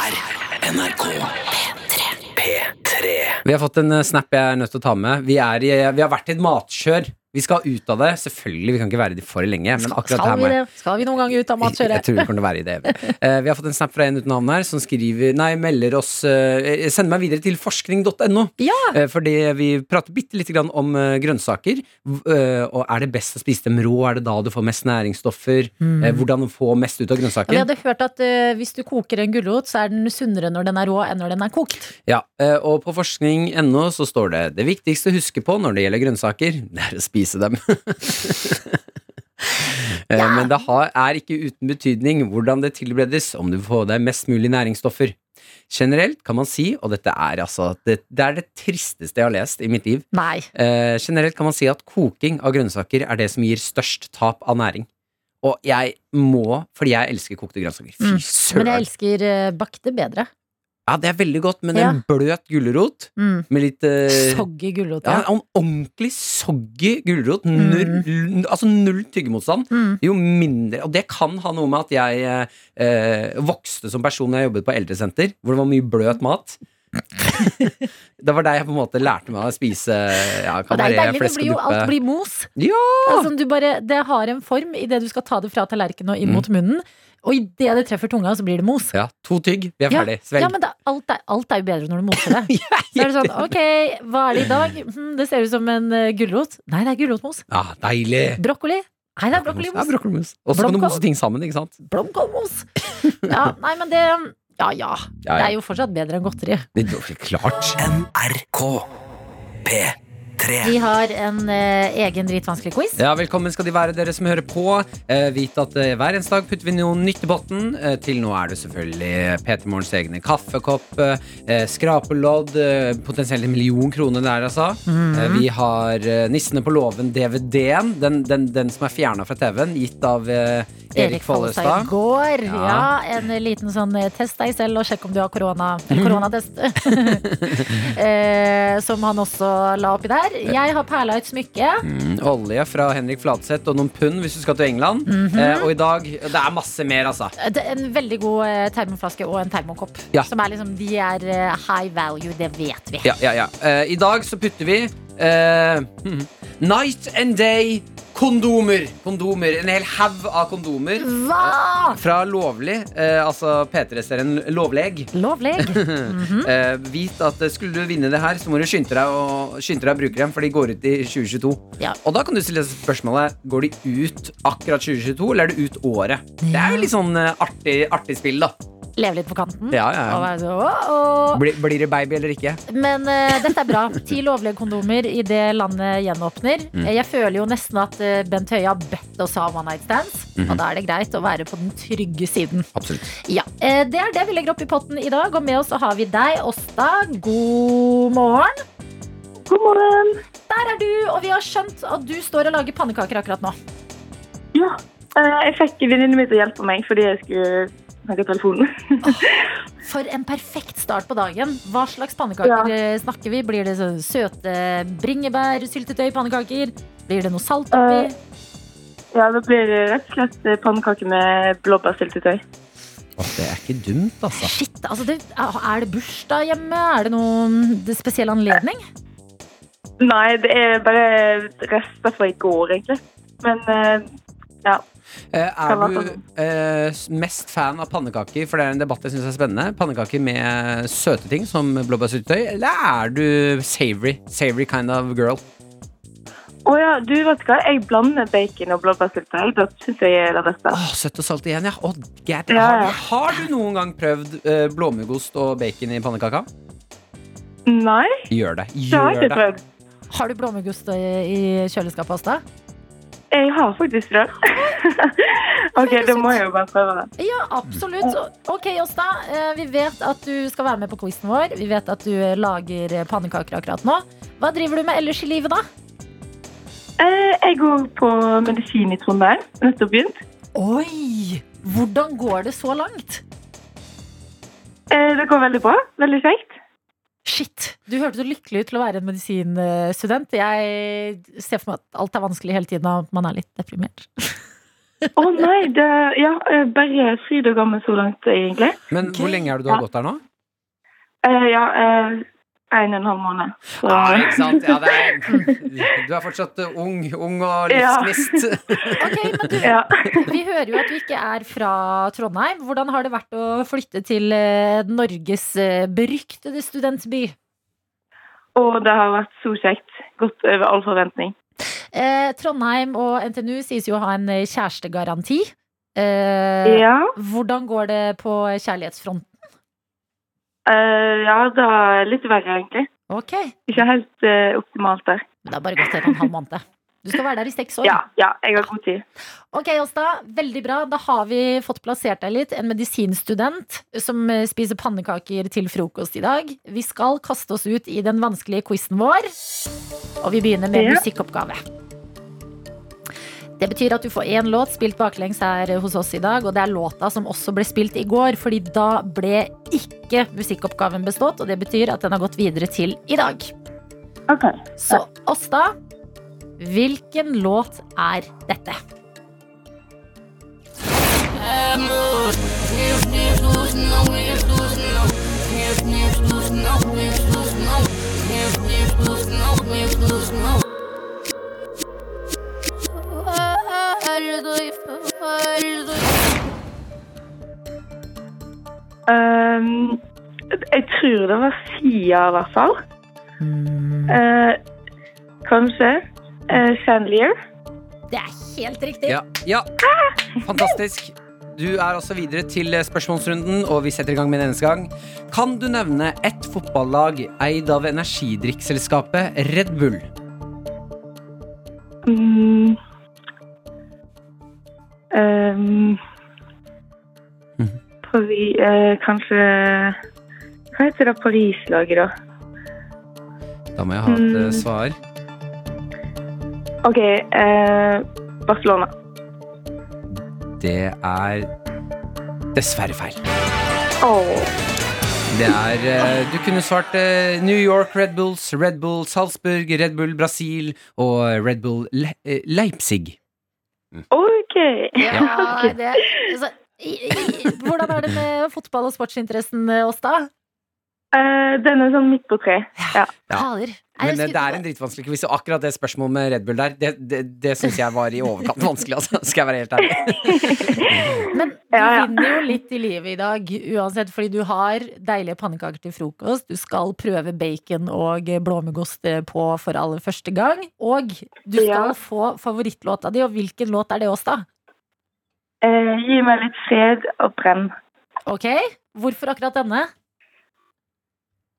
Vi har fått en eh, snap jeg er nødt til å ta med. Vi, er i, eh, vi har vært i et matkjør. Vi skal ut av det. Selvfølgelig, vi kan ikke være i det for lenge. Men akkurat
Skal
her
vi,
må jeg-
det? Skal vi noen gang ut av
Jeg
matkjøret?
tror vi kommer til å være i det evig.
(laughs)
Eh, Vi har fått en snap fra en uten navn her som skriver Nei, melder oss eh, Send meg videre til forskning.no.
Ja!
Eh, Fordi vi prater bitte lite grann om eh, grønnsaker. V- eh, Og er det best å spise dem rå? Er det da du får mest næringsstoffer? Eh, Hvordan få mest ut av
Vi
grønnsaken?
hadde hørt at eh, hvis du koker en gulrot, så er den sunnere når den er rå enn når den er kokt.
Ja, eh, og på forskning.no så står det Det viktigste å huske på når det gjelder grønnsaker, (laughs) det er å spise dem. (laughs) Eh, Men det har, er ikke uten betydning hvordan det tilberedes, om du får deg mest mulig næringsstoffer. Generelt kan man si, og dette er altså det, det er det tristeste jeg har lest i mitt liv,
Nei.
eh, generelt kan man si at koking av grønnsaker er det som gir størst tap av næring. Og jeg må, fordi jeg elsker kokte grønnsaker. Fy
Mm. Men jeg
søren!
elsker eh, bakte bedre.
Ja, det er veldig godt, men
Ja.
en bløt gulrot
Mm.
med litt eh,
Soggy gulrot,
ja,
ja.
en ordentlig soggy gulrot. Null, Altså null tyggemotstand.
Mm.
Jo mindre Og det kan ha noe med at jeg eh, eh, vokste som person da jeg jobbet på eldresenter, hvor det var mye bløt
(laughs)
mat. (laughs) det var der jeg på en måte lærte meg å spise ja,
Og det er
kabaret,
deilig. Det
flesk
blir
og
jo, alt
duppe.
blir mos.
Ja!
Altså, du bare, det har en form idet du skal ta det fra tallerkenen og inn mot munnen. Og idet det treffer tunga, så blir det mos.
ja. To tygg, vi er
Ja,
ferdig. Svelg.
ja men det, er- alt, er, alt er jo bedre når du moser (laughs) det. Så er det sånn, ok, hva er det i dag? Hm, det ser ut som en eh, gulrot. Nei, det er gulrotmos.
ja, Ah, deilig!
Brokkoli? Nei, det er
Ja,
brokkolimos.
brokkolimos. Og så kan du
Blomkål.
mose ting sammen, ikke sant?
Blomkålmos. (laughs) Ja, nei, men det Ja ja. Det
Ja, ja.
er jo fortsatt bedre enn godteri.
Det er klart.
Vi har en eh, egen dritvanskelig quiz.
Ja, Velkommen skal de være, dere som hører på. Eh, vit at eh, hver eneste dag putter vi noe nytt i potten. Eh, til nå er det selvfølgelig eh, P3 Morgens egne kaffekopp, eh, skrapelodd, eh, potensielt en million kroner der, altså. Eh, vi har eh, Nissene på låven, DVD-en, den, den, den som er fjerna fra TV-en, gitt av eh, Erik
i
Follestad.
går.
Ja.
Ja, en liten sånn eh, test deg selv og sjekk om du har korona. eller
Mm.
Koronatest. (laughs) eh, som han også la oppi der. Jeg har perla et smykke.
Mm, olje fra Henrik Fladseth og noen pund hvis du skal til England. eh, og i dag Det er masse mer, altså.
Det er en veldig god eh, termoflaske og en termokopp.
Ja.
Som er liksom, De er eh, high value, det vet vi.
Ja, ja, ja. Eh, I dag så putter vi eh, hmm, Night and Day kondomer. Kondomer, En hel haug av kondomer.
Hva?!
Fra Lovlig, eh, altså P3-serien Lovleg.
Lovlig.
(laughs) Eh, vit at eh, skulle du vinne det her, så må du skynde deg å, skynde deg å bruke dem, for de går ut i 2022.
Ja.
Og da kan du stille spørsmålet Går de ut akkurat 2022, eller er det ut året. Det er jo litt sånn eh, artig, artig spill, da.
Leve litt på kanten.
Ja, ja,
Og
ja.
være så, «Åh, åh».
Blir, blir det baby eller ikke?
Men eh, dette er bra. Ti lovlige kondomer i det landet gjenåpner. Eh, Jeg føler jo nesten at eh, Bent Høie har bedt oss ha one night stands. Og da er det greit å være på den trygge siden.
Absolutt.
Ja, eh, Det er det vi legger opp i potten i dag. Og med oss så har vi deg, Åsta. God morgen.
God morgen.
Der er du, og vi har skjønt at du står og lager pannekaker akkurat nå.
Eh, Jeg fikk venninnen min til å hjelpe meg fordi jeg skulle snakke i telefonen. (laughs)
For en perfekt start på dagen. Hva slags pannekaker eh, snakker vi? Blir det sånn søte bringebær-syltetøy-pannekaker? Blir det noe salt oppi?
Ja, det blir det rett og slett eh, pannekaker med blåbærsyltetøy.
Å, det er ikke dumt, altså.
Shit, altså det, Er det bursdag hjemme? Er det noen det er spesiell anledning?
Nei, det er bare rester fra i går, egentlig. Men eh,
Eh,
Hva var
Er du eh, s- mest fan av pannekaker, for det er en debatt jeg syns er spennende, pannekaker med søte ting som blåbærsyltetøy, eller er du savory, savory kind of girl?
Å ja, du vet du hva, jeg blander bacon og blåbærsyltetøy. Det syns jeg er det beste.
Åh, søtt og salt igjen, ja. Åh, get,
Ja, ja.
Har, har du noen gang prøvd eh, blåmuggost og bacon i pannekaka?
Nei,
Gjør det.
det har
Gjør
jeg ikke
det.
prøvd.
Har du blåmuggost i i kjøleskapet hos deg?
Jeg har faktisk det. (laughs) OK, da må jeg jo bare prøve det.
Ja, absolutt. Ok, Åsta. eh, Vi vet at du skal være med på quizen vår. Vi vet at du eh, lager eh, pannekaker akkurat nå. Hva driver du med ellers i livet, da?
Eh, Jeg går på medisin i Trondheim. Nettopp begynt.
Oi! Hvordan går det så langt?
Eh, Det går veldig bra. Veldig kjekt.
Shit! Du hørte så lykkelig ut til å være en medisinstudent. Jeg ser for meg at alt er vanskelig hele tiden, og at man er litt deprimert.
Å nei, det Ja, eh, bare fryd og gammen så langt, egentlig.
Men hvor lenge er det du har gått der
(laughs)
nå?
Eh, Ja, eh, en og en halv måned. Så
Ja, ikke sant? Ja, det er, du er fortsatt eh, ung, ung og
Ja.
livsgnist.
Ok, men du,
ja. (laughs)
Vi hører jo at du ikke er fra Trondheim. Hvordan har det vært å flytte til eh, Norges eh, beryktede studentby?
Og det har vært så kjekt. Gått over all forventning.
Eh, Trondheim og NTNU sies jo å ha en eh, kjærestegaranti. Eh,
Ja.
Hvordan går det på kjærlighetsfronten?
eh, Ja, det er litt verre, egentlig.
Ok,
Ikke helt eh, optimalt der.
men det har bare gått en og en halv måned. Du skal være der i seks år.
Ja, ja, jeg har god tid.
Ok, Åsta. Veldig bra. Da har vi fått plassert deg litt. En medisinstudent som eh, spiser pannekaker til frokost i dag. Vi skal kaste oss ut i den vanskelige quizen vår, og vi begynner med
Ja.
musikkoppgave. Det betyr at du får én låt spilt baklengs her hos oss i dag, og det er låta som også ble spilt i går, fordi da ble ikke musikkoppgaven bestått, og det betyr at den har gått videre til i dag.
Ok.
Så Åsta, hvilken låt er dette?
Ehm, jeg tror det var Sia, i hvert fall. Eh, kanskje. Eh, Chandelier.
Det er helt riktig.
Ja. ja. Fantastisk. Du er også videre til eh, spørsmålsrunden, og vi setter i gang med den eneste gang. Kan du nevne ett fotballag eid av energidrikkselskapet Red Bull?
Mm. Ehm,
Mhm.
Pari- eh, kanskje Hva heter det Paris-laget, da?
Da må jeg ha et eh,
Mm.
svar.
OK, eh, Barcelona.
Det er dessverre feil.
Åh.
Det er eh, Du kunne svart eh, New York Red Bulls, Red Bull Salzburg, Red Bull Brasil og Red Bull Le eh, Leipzig.
OK.
Ja, det, altså, i, i, hvordan er det med fotball og sportsinteressen hos da?
Eh, den er sånn midt på tre.
Ja.
Fader. Nei, jeg
Men eh, det er
skulle-
en dritvanskelig quiz, og akkurat det spørsmålet med Red Bull der, det, det, det syns jeg var i overkant vanskelig, altså. (laughs) Skal jeg være helt ærlig.
Men du
Ja, ja.
vinner jo litt i livet i dag uansett, fordi du har deilige pannekaker til frokost. Du skal prøve bacon og blåmuggost eh, på for aller første gang. Og du skal
Ja.
få favorittlåta di, og hvilken låt er det hos da?
Eh, gi meg litt fred og brenn.
Ok, hvorfor akkurat denne?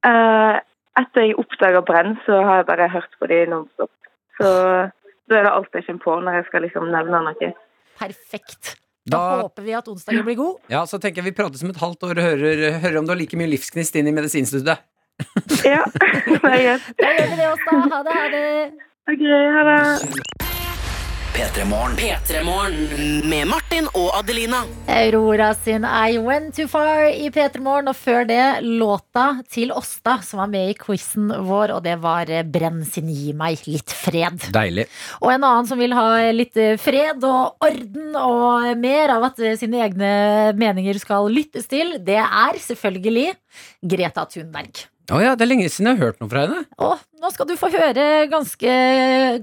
Eh, etter jeg oppdaga Brenn, så har jeg bare hørt på de nonstop. Så da er det alt jeg kommer på når jeg skal liksom nevne noe.
Perfekt. Da,
Da,
håper vi at onsdagen blir god.
ja, så tenker jeg vi prates om et halvt år og hører, hører om du har like mye livsgnist inn i medisinstudiet.
Ja, (laughs) det er greit.
Da gjør vi det hos da. Ha det, ha det.
Ok, ha det.
P3morgen med Martin og Adelina.
Aurora sin I Went Too Far i P3 Morgen, og før det låta til Åsta, som var med i quizen vår, og det var eh, Brenn sin Gi meg litt fred.
Deilig.
Og en annen som vil ha litt eh, fred og orden og mer av at eh, sine egne meninger skal lyttes til, det er selvfølgelig Greta Thunberg.
Å ja, det er lenge siden jeg har hørt noe fra henne.
Og nå skal du få høre ganske,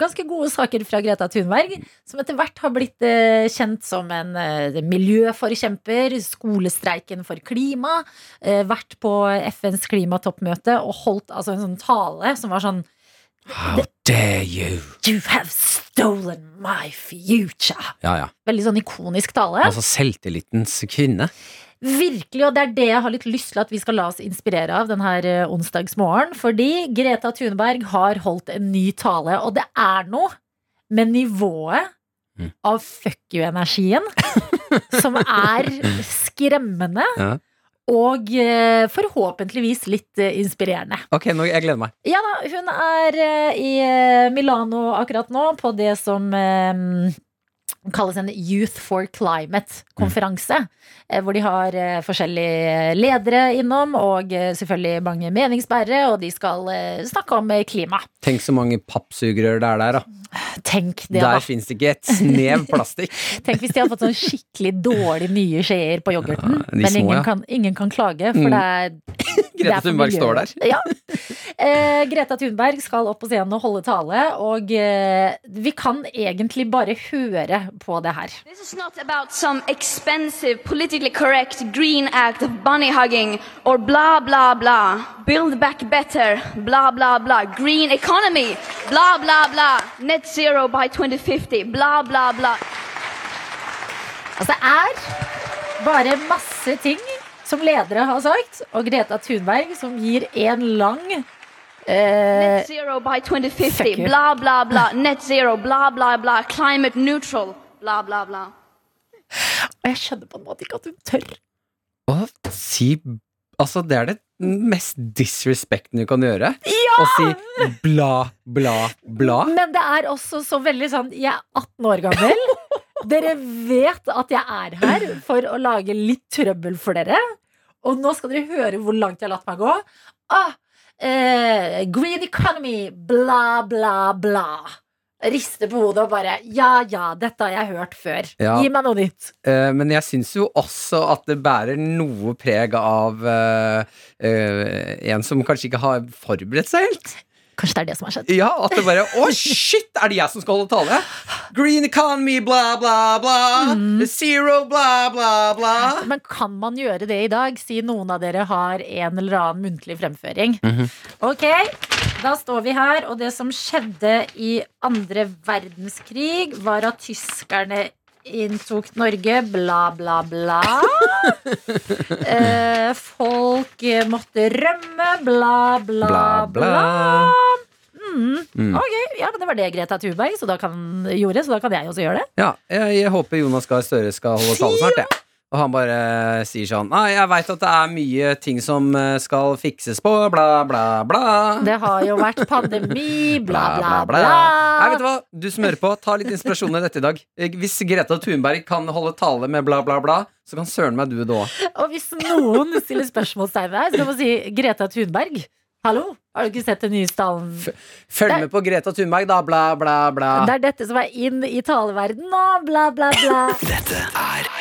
ganske gode saker fra Greta Thunberg, som etter hvert har blitt eh, kjent som en eh, miljøforkjemper, skolestreiken for klima, eh, vært på FNs klimatoppmøte og holdt altså, en sånn tale som var sånn
How dare you?
You have stolen my future.
Ja, ja.
Veldig sånn ikonisk tale.
Altså selvtillitens kvinne.
Virkelig, og det er det jeg har litt lyst til at vi skal la oss inspirere av denne onsdagsmorgen. Fordi Greta Thunberg har holdt en ny tale, og det er noe med nivået
Mm.
av fuck
(laughs)
you-energien som er skremmende.
Ja.
Og eh, forhåpentligvis litt eh, inspirerende.
Ok, nå, jeg gleder meg.
Ja da, hun er eh, i eh, Milano akkurat nå, på det som eh, Den kalles en Youth for Climate-konferanse.
Mm.
eh, Hvor de har eh, forskjellige ledere innom, og eh, selvfølgelig mange meningsbærere. Og de skal eh, snakke om eh, klima.
Tenk så mange pappsugerør det er der, da.
Tenk det, da.
Der fins det ikke et snev
(laughs)
plastikk.
Tenk hvis de hadde fått sånn skikkelig dårlig nye skjeer på yoghurten.
Ja, de
men
små,
ingen,
ja.
kan, ingen kan klage, for
Mm.
det er
(laughs)
det er
Grete
for
Thunberg står der.
miljøet. Ja. Eh, Greta Thunberg skal opp på scenen og holde tale, og eh, vi kan egentlig bare høre på det her.
This is not about some expensive, politically correct green act of bunny hugging or blah blah blah. Build back better, blah blah blah. Green economy, blah blah blah. Net zero by 2050, blah blah blah.
Altså, det er bare masse ting som ledere har sagt, og Greta Thunberg som gir en lang eh,
Net zero by
fuck
2050,
you.
blah blah blah. Net zero, blah blah blah. Climate neutral, blah blah blah.
Og jeg skjønner på en måte ikke at hun tør.
Å si Altså, det er det mest disrespekten du kan gjøre. Å si bla, bla, bla.
Men det er også så veldig sånn Jeg er 18 år (laughs) gammel. Dere vet at jeg er her for å lage litt trøbbel for dere. Og nå skal dere høre hvor langt jeg har latt meg gå. Ah, eh, green economy, bla, bla, bla. Rister på hodet og bare Ja, ja, dette har jeg hørt før.
Ja.
Gi meg noe nytt.
Eh, men jeg syns jo også at det bærer noe preg av eh, eh, en som kanskje ikke har forberedt seg helt.
Kanskje det er det som har skjedd.
Ja, At det bare Å, shit! Er det jeg som skal holde tale? Green economy, bla, bla, bla.
Mm.
Zero, bla, bla, bla.
(laughs) Men kan man gjøre det i dag? Si noen av dere har en eller annen muntlig fremføring. Ok, da står vi her, og det som skjedde i andre verdenskrig, var at tyskerne inntok Norge, bla, bla, (laughs) bla. eh, folk eh, måtte rømme, bla, bla,
Bla,
bla.
bla.
Mm.
Mm.
Ok, ja, men det var det Greta Thunberg så da kan, gjorde, så da kan jeg også gjøre det.
Ja, jeg, jeg håper Jonas Gahr Støre skal holde tale snart, jeg. Og han bare sier sånn Nei, jeg veit at det er mye ting som eh, skal fikses på, bla, bla, bla.
Det har jo vært pandemi, bla, bla, bla.
Nei, vet du hva? Du som hører på, ta litt inspirasjon i dette i dag. Eh, Hvis Greta Thunberg kan holde tale med bla, bla, bla, så kan søren meg du det òg.
Og hvis noen stiller spørsmålstegn her, så må vi si Greta Thunberg. Hallo, har du ikke sett den nye stallen?
Følg
Det-
med på Greta Thunberg, da, bla, bla, bla.
Det er dette som er inn i taleverden nå, bla, bla, bla. (laughs) Dette er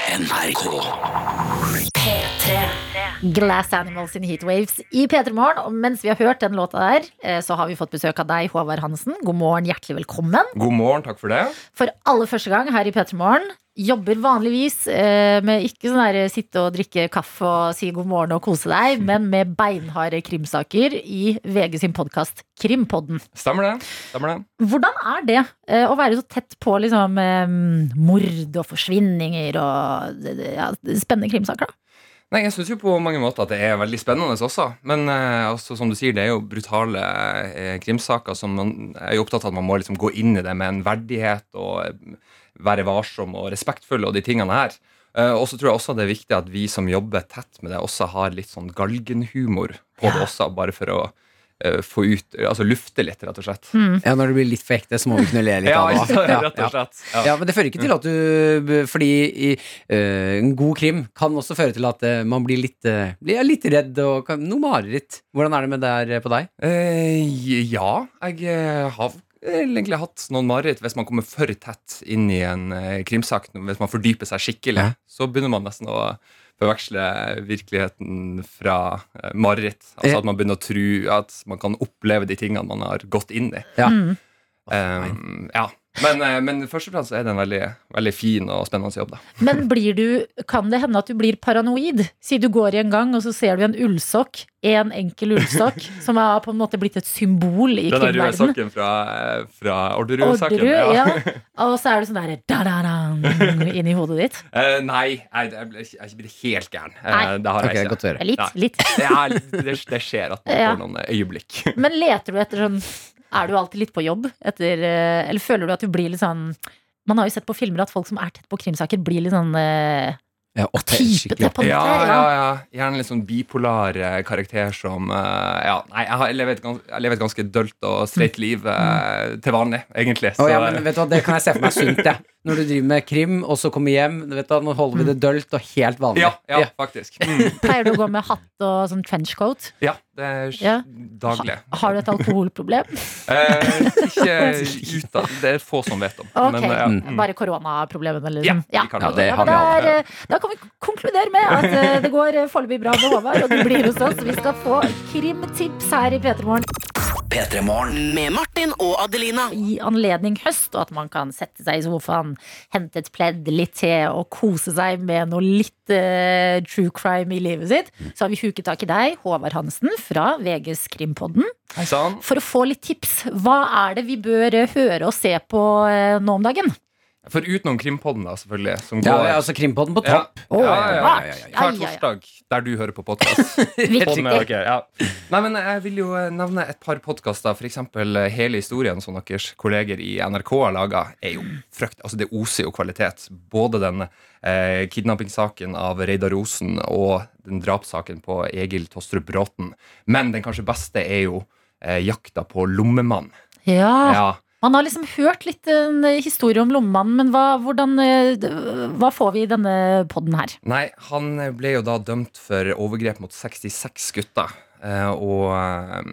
NRK. P3. Glass Animals in Heatwaves i P3 Morgen. Og mens vi har hørt den låta der, eh, så har vi fått besøk av deg, Håvard Hansen. God morgen, hjertelig velkommen.
God morgen, takk for det.
For aller første gang her i P3 Morgen. Jobber vanligvis eh, med ikke sånn der sitte og drikke kaffe og si god morgen og kose
Mm.
deg, men med beinharde krimsaker i VG sin podkast Krimpodden.
Stemmer det. Stemmer det.
Hvordan er det eh, å være så tett på liksom eh, mord og forsvinninger og eh, ja, spennende krimsaker, da?
Nei, Jeg syns jo på mange måter at det er veldig spennende også. Men eh, altså, som du sier, det er jo brutale eh, krimsaker som man jeg er jo opptatt av at man må liksom gå inn i det med en verdighet og eh, være varsom og respektfull og de tingene her. Eh, og så tror jeg også det er viktig at vi som jobber tett med det, også har litt sånn galgenhumor på det også, bare for å eh, få ut Altså lufte litt, rett og slett.
Ja, når det blir litt for ekte, så må vi kunne le
(laughs)
litt av det. også. Mm. Ja,
rett
ja.
og slett.
Ja, men det fører ikke til at du Fordi i, eh, en god krim kan også føre til at eh, man blir litt, eh, blir litt redd og kan, noe mareritt. Hvordan er det med det her eh, på deg?
Eh, ja, jeg eh, har vel egentlig hatt noen mareritt hvis man kommer for tett inn i en eh, krimsak. Hvis man fordyper seg skikkelig, så begynner man nesten å forveksle virkeligheten fra eh, mareritt.
Ja.
Altså at man begynner å tro at man kan oppleve de tingene man har gått inn i.
Ja.
Mm.
Eh, ja. Men, eh, men først og fremst så er det en veldig, veldig fin og spennende jobb, da.
Men blir du, kan det hende at du blir paranoid? Si du går i en gang, og så ser du en ullsokk. En enkel
(laughs)
ullsokk, som har på en måte blitt et symbol i
Den der røde
krimverdenen.
sokken fra, eh, fra Orderud-saken.
Orderud, ja. Og så er det sånn der da, da,
(laughs)
da, inni hodet ditt.
Eh, nei, nei, jeg ble- jeg er ikke blitt helt gæren. Eh,
Nei.
det har jeg
Ok,
ikke.
godt å høre.
Litt,
Nei.
litt.
det, er, det, det skjer at man
Ja.
får noen øyeblikk.
Men leter du etter sånn Er du alltid litt på jobb? Etter, eh, eller føler du at du blir litt sånn Man har jo sett på filmer at folk som er tett på krimsaker, blir litt sånn eh,
Ja, og det er skikkelig-
ja, ja, ja. Gjerne litt sånn bipolar eh, karakter som eh, Ja, nei, jeg, har, jeg, lever et gans, jeg lever et ganske dølt og streit
Mm.
liv eh, til vanlig, egentlig.
Å, ja, men vet du hva, Det kan jeg se for meg er sunt. jeg. Når du driver med krim og så kommer hjem. Vet du, hva, nå holder vi det dølt og helt vanlig.
eh, ja, ja, faktisk. Mm.
Pleier du å gå med hatt og sånn
(laughs)
trenchcoat?
Ja, det er s-
(laughs) Ja.
daglig.
Har du et
(laughs)
alkoholproblem?
Eh,
(laughs)
ikke ut av Det er få som vet om.
Ok,
men, eh, mm.
Bare koronaproblemene, liksom.
Ja, vi kan Ja, det
men
har vi alle.
der, eh, Da kan vi konkludere med at eh, det går eh, foreløpig bra med Håvard, og du blir hos oss. Vi skal få krimtips her i P3 Morgen.
Med Martin og Adelina.
i anledning høst, og at man kan sette seg i sofaen, hente et pledd, litt te og kose seg med noe litt eh, true crime i livet sitt, så har vi huket tak i deg, Håvard Hansen fra VGs Krimpodden,
Hei sann.
for å få litt tips. Hva er det vi bør eh, høre og se på eh, nå om dagen?
For utenom Krimpodden, da, selvfølgelig. Som
Ja,
går
ja, altså Krimpodden på
Ja.
topp.
Ja, ja, ja, ja, ja.
Ai,
Hver
ai, ai.
torsdag der du hører på podkast.
(laughs)
ja. Nei, men Jeg vil jo eh, nevne et par podkaster. F.eks. eh, Hele historien som deres kolleger i NRK har laga. Altså, det oser jo kvalitet. Både den eh, kidnappingssaken av Reidar Osen og den drapssaken på Egil Tostrup Bråten. Men den kanskje beste er jo eh, jakta på lommemann.
Ja.
Ja.
Man har liksom hørt litt en eh, historie om lommemannen, men hva, hvordan, eh, d- hva får vi i denne podden her?
Nei, han ble jo da dømt for overgrep mot 66 gutter. Eh, og eh,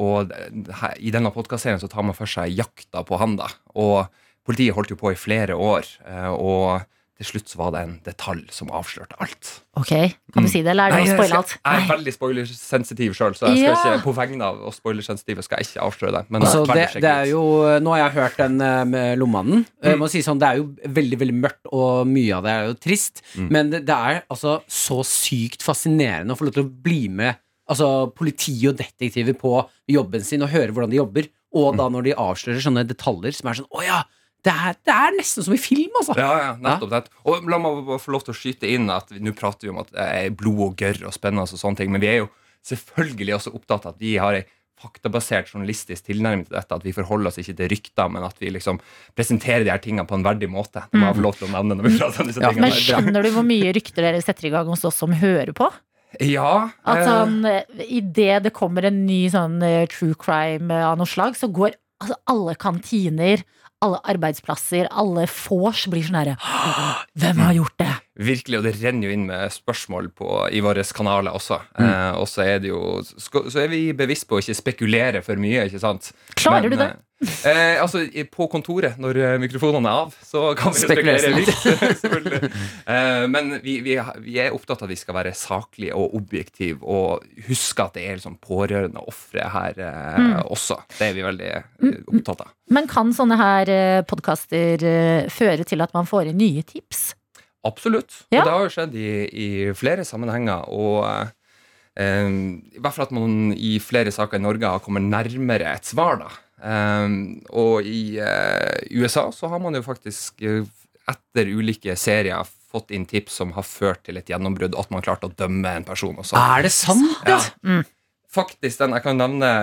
og d- her, i denne podkastserien så tar man for seg jakta på han, da. Og politiet holdt jo på i flere år. Eh, og til slutt så var det en detalj som avslørte alt.
Ok, kan du si det, eller er
Mm. Nei,
det å
jeg
spoile
skal-
alt?
Jeg er veldig spoilersensitiv sjøl, så jeg skal
Ja.
ikke, på vegne av oss spoilersensitive skal jeg ikke avsløre det. Men
Altså,
kan
det,
du sjekke
det er
ut.
jo, nå har jeg hørt den eh, med Lommemannen. Jeg må si sånn, Det er jo veldig veldig mørkt, og mye av det er jo trist. Men det, det er altså så sykt fascinerende å få lov til å bli med altså, politi og detektiver på jobben sin og høre hvordan de jobber. Og da når de avslører sånne detaljer som er sånn Å ja! Det er, det er nesten som i film, altså!
Ja, ja, nettopp, nettopp. Og la meg bare få lov til å skyte inn at vi- nå prater vi om at eh, blod og gørr og spennende og sånne ting, men vi er jo selvfølgelig også opptatt av at vi har ei faktabasert journalistisk tilnærming til dette, at vi forholder oss ikke til rykter, men at vi liksom presenterer de her tingene på en verdig måte. Det må jeg få lov til å nevne når vi prater om disse
Ja,
Mm.
tingene.
Men skjønner du hvor mye rykter dere setter i gang hos oss som hører på?
Ja,
At
eh,
sånn, Idet det kommer en ny sånn eh, true crime eh, av noe slag, så går altså, alle kantiner, alle arbeidsplasser, alle vors blir sånn herre «Åh, Hvem har gjort det?
Virkelig, og det renner jo inn med spørsmål på, i våre kanaler også.
Mm.
Eh, og så er det jo sk- Så er vi bevisst på å ikke spekulere for mye, ikke sant?
Klarer du det?
Eh, eh, altså, i- på kontoret, når eh, mikrofonene er av, så kan vi jo
Spekulere
spekulere
litt.
litt. (laughs) selvfølgelig. eh, men vi, vi, har- vi er opptatt av at vi skal være saklige og objektive, og huske at det er liksom pårørende og ofre her eh,
Mm.
også. Det er vi veldig eh, opptatt av.
Men kan sånne her podkaster føre til at man får inn nye tips?
Absolutt.
Ja.
Og det har jo skjedd i, i flere sammenhenger. Og eh, i hvert fall at man i flere saker i Norge har kommet nærmere et svar, da. Eh, og i eh, USA så har man jo faktisk eh, etter ulike serier fått inn tips som har ført til et gjennombrudd, og at man klarte å dømme en person. sånn. Også.
Er det sant?
Ja.
Mm.
Faktisk den jeg kan nevne,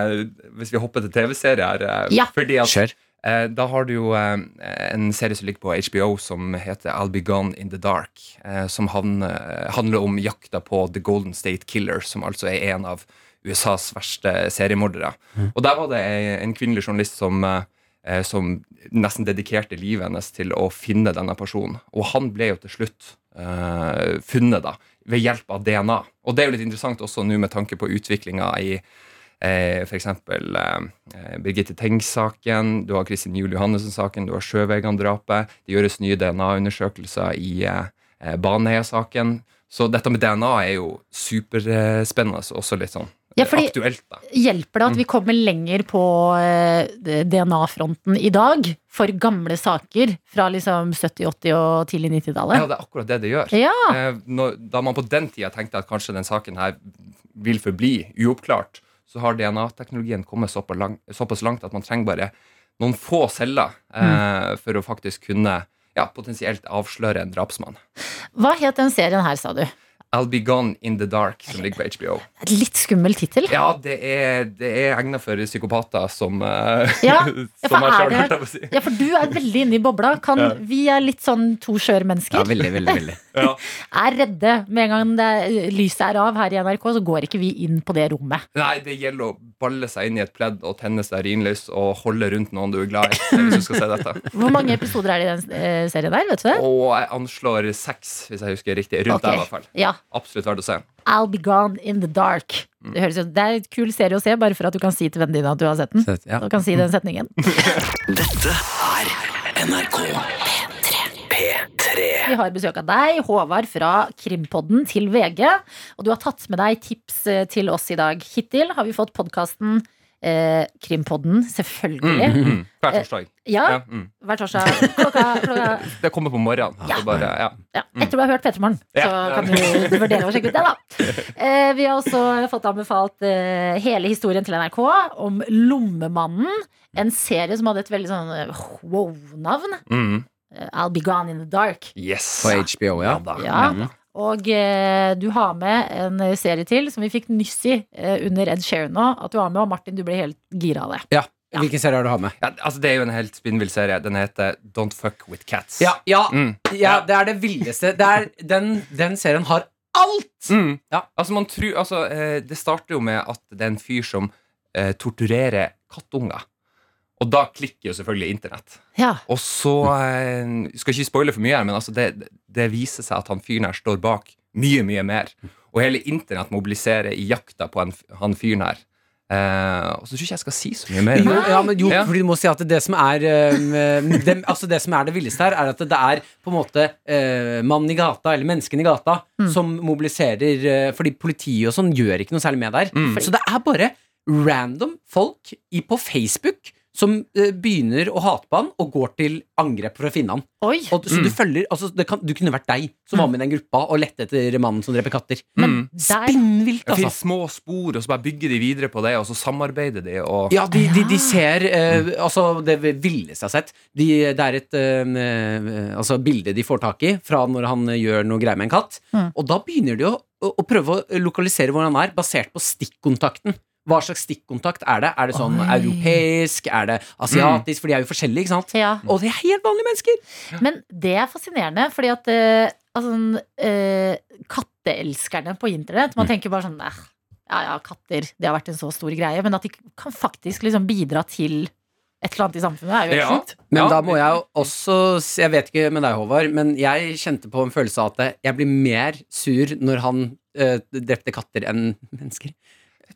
hvis vi hopper til TV-serier eh,
Ja.
Fordi at
Kjør.
Eh, Da har du jo eh, en serie som ligger på HBO som heter I'll Be Gone in the Dark. eh, Som han, eh, handler om jakta på The Golden State Killer, som altså er en av USAs verste seriemordere. Og der var det ei- en kvinnelig journalist som, eh, eh, som nesten dedikerte livet hennes til å finne denne personen. Og han ble jo til slutt eh, funnet da, ved hjelp av DNA. Og det er jo litt interessant også nå med tanke på utviklinga i Eh, for eksempel eh, Birgitte Tengs-saken, du har Kristin Juel Johannessen-saken, du har Sjøvegan-drapet. Det gjøres nye DNA-undersøkelser i eh, eh, Baneheia-saken. Så dette med DNA er jo superspennende og også litt sånn
Ja, fordi-
aktuelt. da.
Hjelper det
Mm.
at vi kommer lenger på eh, DNA-fronten i dag for gamle saker fra liksom 70-, 80- og tidlig 90-tallet?
Ja, det er akkurat det det gjør.
Ja.
Eh, når, da man på den tida tenkte at kanskje den saken her vil forbli uoppklart, så har DNA-teknologien kommet såpass langt, såpass langt at man trenger bare noen få celler
Mm.
eh, for å faktisk kunne ja, potensielt avsløre en drapsmann.
Hva het den serien her, sa du?
I'll Be Gone In The Dark, som ligger på HBO.
Et litt skummel tittel.
Ja, det er, det er egnet for psykopater som, eh, (laughs)
Ja, ja,
som
for
meg selv,
er
holdt jeg på å si.
det, ja, for du er veldig inne i bobla. Kan,
Ja.
Vi er litt sånn to skjøre mennesker.
Ja, veldig, veldig, veldig.
Ja.
Er redde. Med en gang det, er- lyset er av her i NRK, så går ikke vi inn på det rommet.
Nei, det gjelder å balle seg inn i et pledd og tenne seg urinlys og holde rundt noen du er glad i. Hvis du skal se dette
Hvor mange episoder er det i den eh, serien der? vet du det?
Og jeg anslår seks, hvis jeg husker riktig.
Ok,
Rundt der, i hvert fall.
ja.
Absolutt verdt å se.
I'll Be Gone In The Dark. Det, høres, jo- det er en kul serie å se, bare for at du kan si til vennen din at du har sett den.
Sett, ja.
Du kan si den setningen.
Dette er NRK P3.
Vi har besøk av deg, Håvard fra Krimpodden til VG. Og du har tatt med deg tips eh, til oss i dag. Hittil har vi fått podkasten eh, Krimpodden, selvfølgelig.
Mm, mm, mm. Hver
Eh,
torsdag.
ja,
Ja, mm.
hver torsdag klokka, klokka
Det kommer på morgenen. så Bare, ja.
ja, Etter du har hørt P3 Morgen, så
Ja.
kan du vurdere å sjekke ut det, da. Eh, vi har også fått anbefalt eh, hele historien til NRK om Lommemannen. En serie som hadde et veldig sånn eh, wow-navn.
Mm.
Eh, I'll Be Gone In The Dark.
Yes.
(laughs) På HBO, ja.
Ja.
Mm.
Og eh, du har med en serie til som vi fikk nyss i eh, under Ed Sheeran nå. At du har med, og Martin, du ble helt gira av det.
ja. Hvilken serie har du hatt med?
Ja, altså, det er jo en helt spinnvill serie. Den heter Don't Fuck With Cats.
Ja, ja,
Mm.
ja, det er det villeste. Det er den, den serien har alt!
Mm.
Ja.
Altså, man tror, altså, eh, det starter jo med at det er en fyr som eh, torturerer kattunger. Og da klikker jo selvfølgelig internett.
Ja.
Og så
Mm.
eh, Skal ikke spoile for mye her, men altså det, det viser seg at han fyren her står bak mye, mye mer. Og hele internett mobiliserer i jakta på han, han fyren her. Eh, og så tror ikke jeg skal si så mye mer.
Jo, ja, men jo
Ja.
fordi du må si at det som er um, det, Altså det som er det villeste her, er at det er på en måte eh, mannen i gata, eller menneskene i gata, som mobiliserer eh, Fordi politiet og sånn gjør ikke noe særlig med der.
Mm.
Så det er bare random folk i, på Facebook som eh, begynner å hate på han og går til angrep for å finne han.
Oi!
Og, så
Mm.
du følger altså, det kan, Du kunne vært deg som var med i den gruppa og lette etter mannen som dreper katter.
Mm.
Der,
Spinnvilt,
Det
altså.
finnes små spor, og så bare bygger de videre på det, og så samarbeider de. Og,
Ja, de, de, de ser eh, Altså, det villeste jeg har sett. De, det er et eh, eh, altså, bilde de får tak i fra når han eh, gjør noe greier med en katt.
Mm.
Og da begynner de å, å, å prøve å lokalisere hvor han er, basert på stikkontakten. Hva slags stikkontakt er det? Er det sånn
Oi.
europeisk? Er det asiatisk? For de er jo forskjellige, ikke sant?
ja.
Og de er helt vanlige mennesker!
Men det er fascinerende, fordi at eh, altså, eh, katteelskerne på internett Man tenker bare sånn eh, Ja ja, katter, det har vært en så stor greie. Men at de kan faktisk liksom bidra til et eller annet i samfunnet, er jo helt
Ja.
sjukt.
Men
Ja.
da må jeg jo også s- Jeg vet ikke med deg, Håvard, men jeg kjente på en følelse av at jeg blir mer sur når han eh, drepte katter enn mennesker.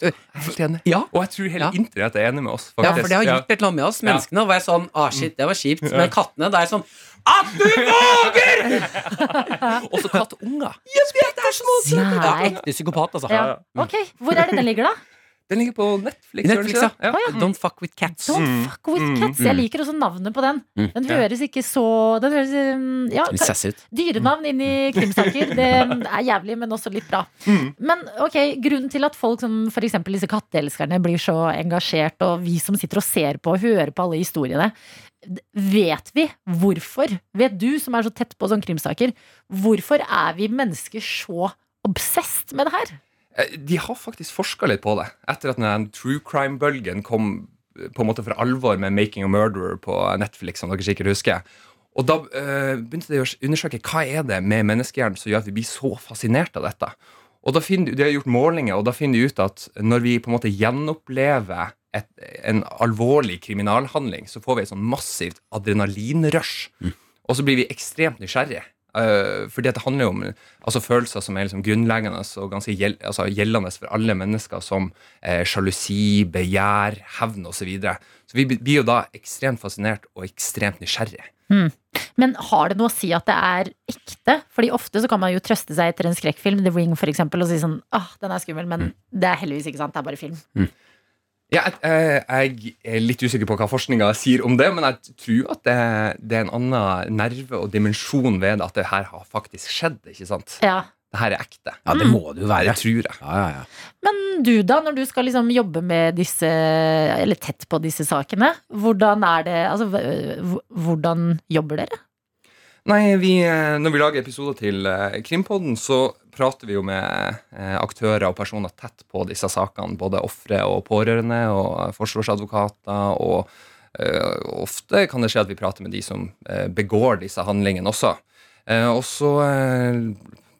Jeg er helt enig.
Ja.
og jeg tror hele
Ja.
internett er enig med oss.
Ja, for
faktisk.
det har
Ja.
gjort et eller annet med oss
Ja.
menneskene. Og var jeg sånn, ah shit, det var kjipt Men kattene, da er jeg sånn At du våger!
(laughs) Også kattunger.
Jeg vet det er så noe
Nei.
Ja, Ekte psykopat, altså.
Ja. Ok, hvor er det den ligger, da?
Den ligger på Netflix. gjør den
Netflix,
ikke
ja.
det? Ja. Mm.
Don't fuck with cats.
Don't fuck with cats. Jeg liker også navnet på den.
Mm.
Den høres ikke så Den høres um, Ja,
Litt sassy ut.
Dyrenavn inn i krimsaker, det er jævlig, men også litt bra. Men ok, grunnen til at folk som f.eks. disse katteelskerne blir så engasjert, og vi som sitter og ser på og hører på alle historiene, d- vet vi hvorfor? Vet du som er så tett på sånne krimsaker, hvorfor er vi mennesker så obsesst med det her?
Eh, De har faktisk forska litt på det. Etter at den true crime-bølgen kom eh, på en måte for alvor med 'Making a Murderer' på Netflix. som dere sikkert husker. Og da eh, begynte de å s- undersøke hva er det med menneskehjernen som gjør at vi blir så fascinert av dette. Og da finner, de- De har gjort målinger, og da finner de ut at når vi på en måte gjenopplever et, en alvorlig kriminalhandling, så får vi et sånn massivt adrenalinrush. Og så blir vi ekstremt nysgjerrige. eh, fordi at det handler jo om altså, følelser som er liksom grunnleggende og ganske gjel altså, gjeldende for alle mennesker, som eh, sjalusi, begjær, hevn osv. Så, videre. så vi blir- blir jo da ekstremt fascinert og ekstremt nysgjerrige.
Men har det noe å si at det er ekte? Fordi ofte så kan man jo trøste seg etter en skrekkfilm, The Ring for eksempel, og si sånn åh, den er skummel, men det er heldigvis ikke sant, det er bare film.
Ja, jeg, eh, jeg er litt usikker på hva forskninga sier om det, men jeg tror at det, det er en annen nerve og dimensjon ved det, at det her har faktisk skjedd. ikke sant?
Ja.
Det her er ekte.
Ja, det må det jo
Det
være.
tror jeg.
Ja, ja, ja.
Men du da, når du skal liksom jobbe med disse, eller tett på disse sakene, hvordan er det, altså hv- hvordan jobber dere?
Nei, vi, eh, Når vi lager episoder til eh, Krimpodden, så prater vi jo med eh, aktører og personer tett på disse sakene. Både ofre og pårørende og forsvarsadvokater. Og eh, ofte kan det skje at vi prater med de som eh, begår disse handlingene også. Eh, Og så eh,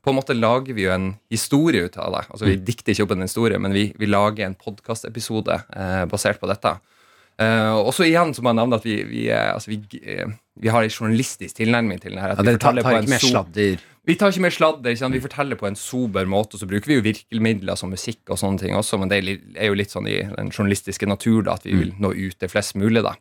på en måte lager vi jo en historie ut av det. Altså
Mm.
Vi dikter ikke opp en historie, men vi, vi lager en podkastepisode eh, basert på dette. Eh, også igjen så må jeg nevne at vi, vi, eh, altså vi, eh, vi har en journalistisk tilnærming til det her. at
Ja,
vi
dere tar-
forteller
tar
på en
ikke mer
so-
sladder.
Vi tar ikke mer sladder. Ikke sant? Vi forteller på en sober måte, og så bruker vi jo virkemidler som musikk og sånne ting også, men det er li- er jo litt sånn i den journalistiske natur da, at vi vil nå ut til flest mulig, da.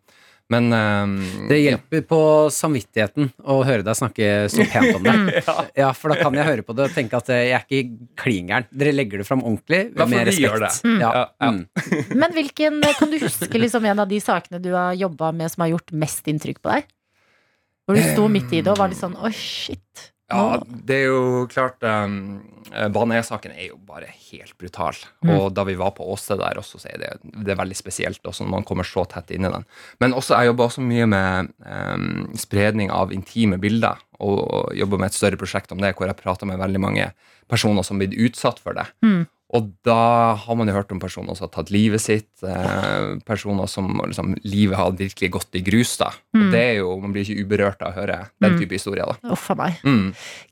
Men eh,
Det hjelper på samvittigheten å høre deg snakke så pent om
(laughs)
det. ja, For da kan jeg høre på det og tenke at eh, jeg er ikke klin gæren. Dere legger det fram ordentlig,
Hvertfall
med
vi gjør
respekt.
det. Mm.
Ja. Mm.
Men hvilken, kan du huske liksom, en av de sakene du har jobba med som har gjort mest inntrykk på deg? Hvor du sto midt i det og var litt sånn Oi, shit.
Ja, det er jo klart um, Baneheia-saken er jo bare helt brutal.
Mm.
Og da vi var på Åsted der også, så er det, det er veldig spesielt også når man kommer så tett inn i den. Men også, jeg jobber også mye med um, spredning av intime bilder, og, og jobber med et større prosjekt om det, hvor jeg prater med veldig mange personer som har blitt utsatt for det.
Mm.
Og da har man jo hørt om personer som har tatt livet sitt, eh, personer som liksom, livet har virkelig gått i grus. da.
Mm.
Og det er jo, Man blir ikke uberørt av å høre den
Mm.
type historier. da.
Uff a meg.
Mm.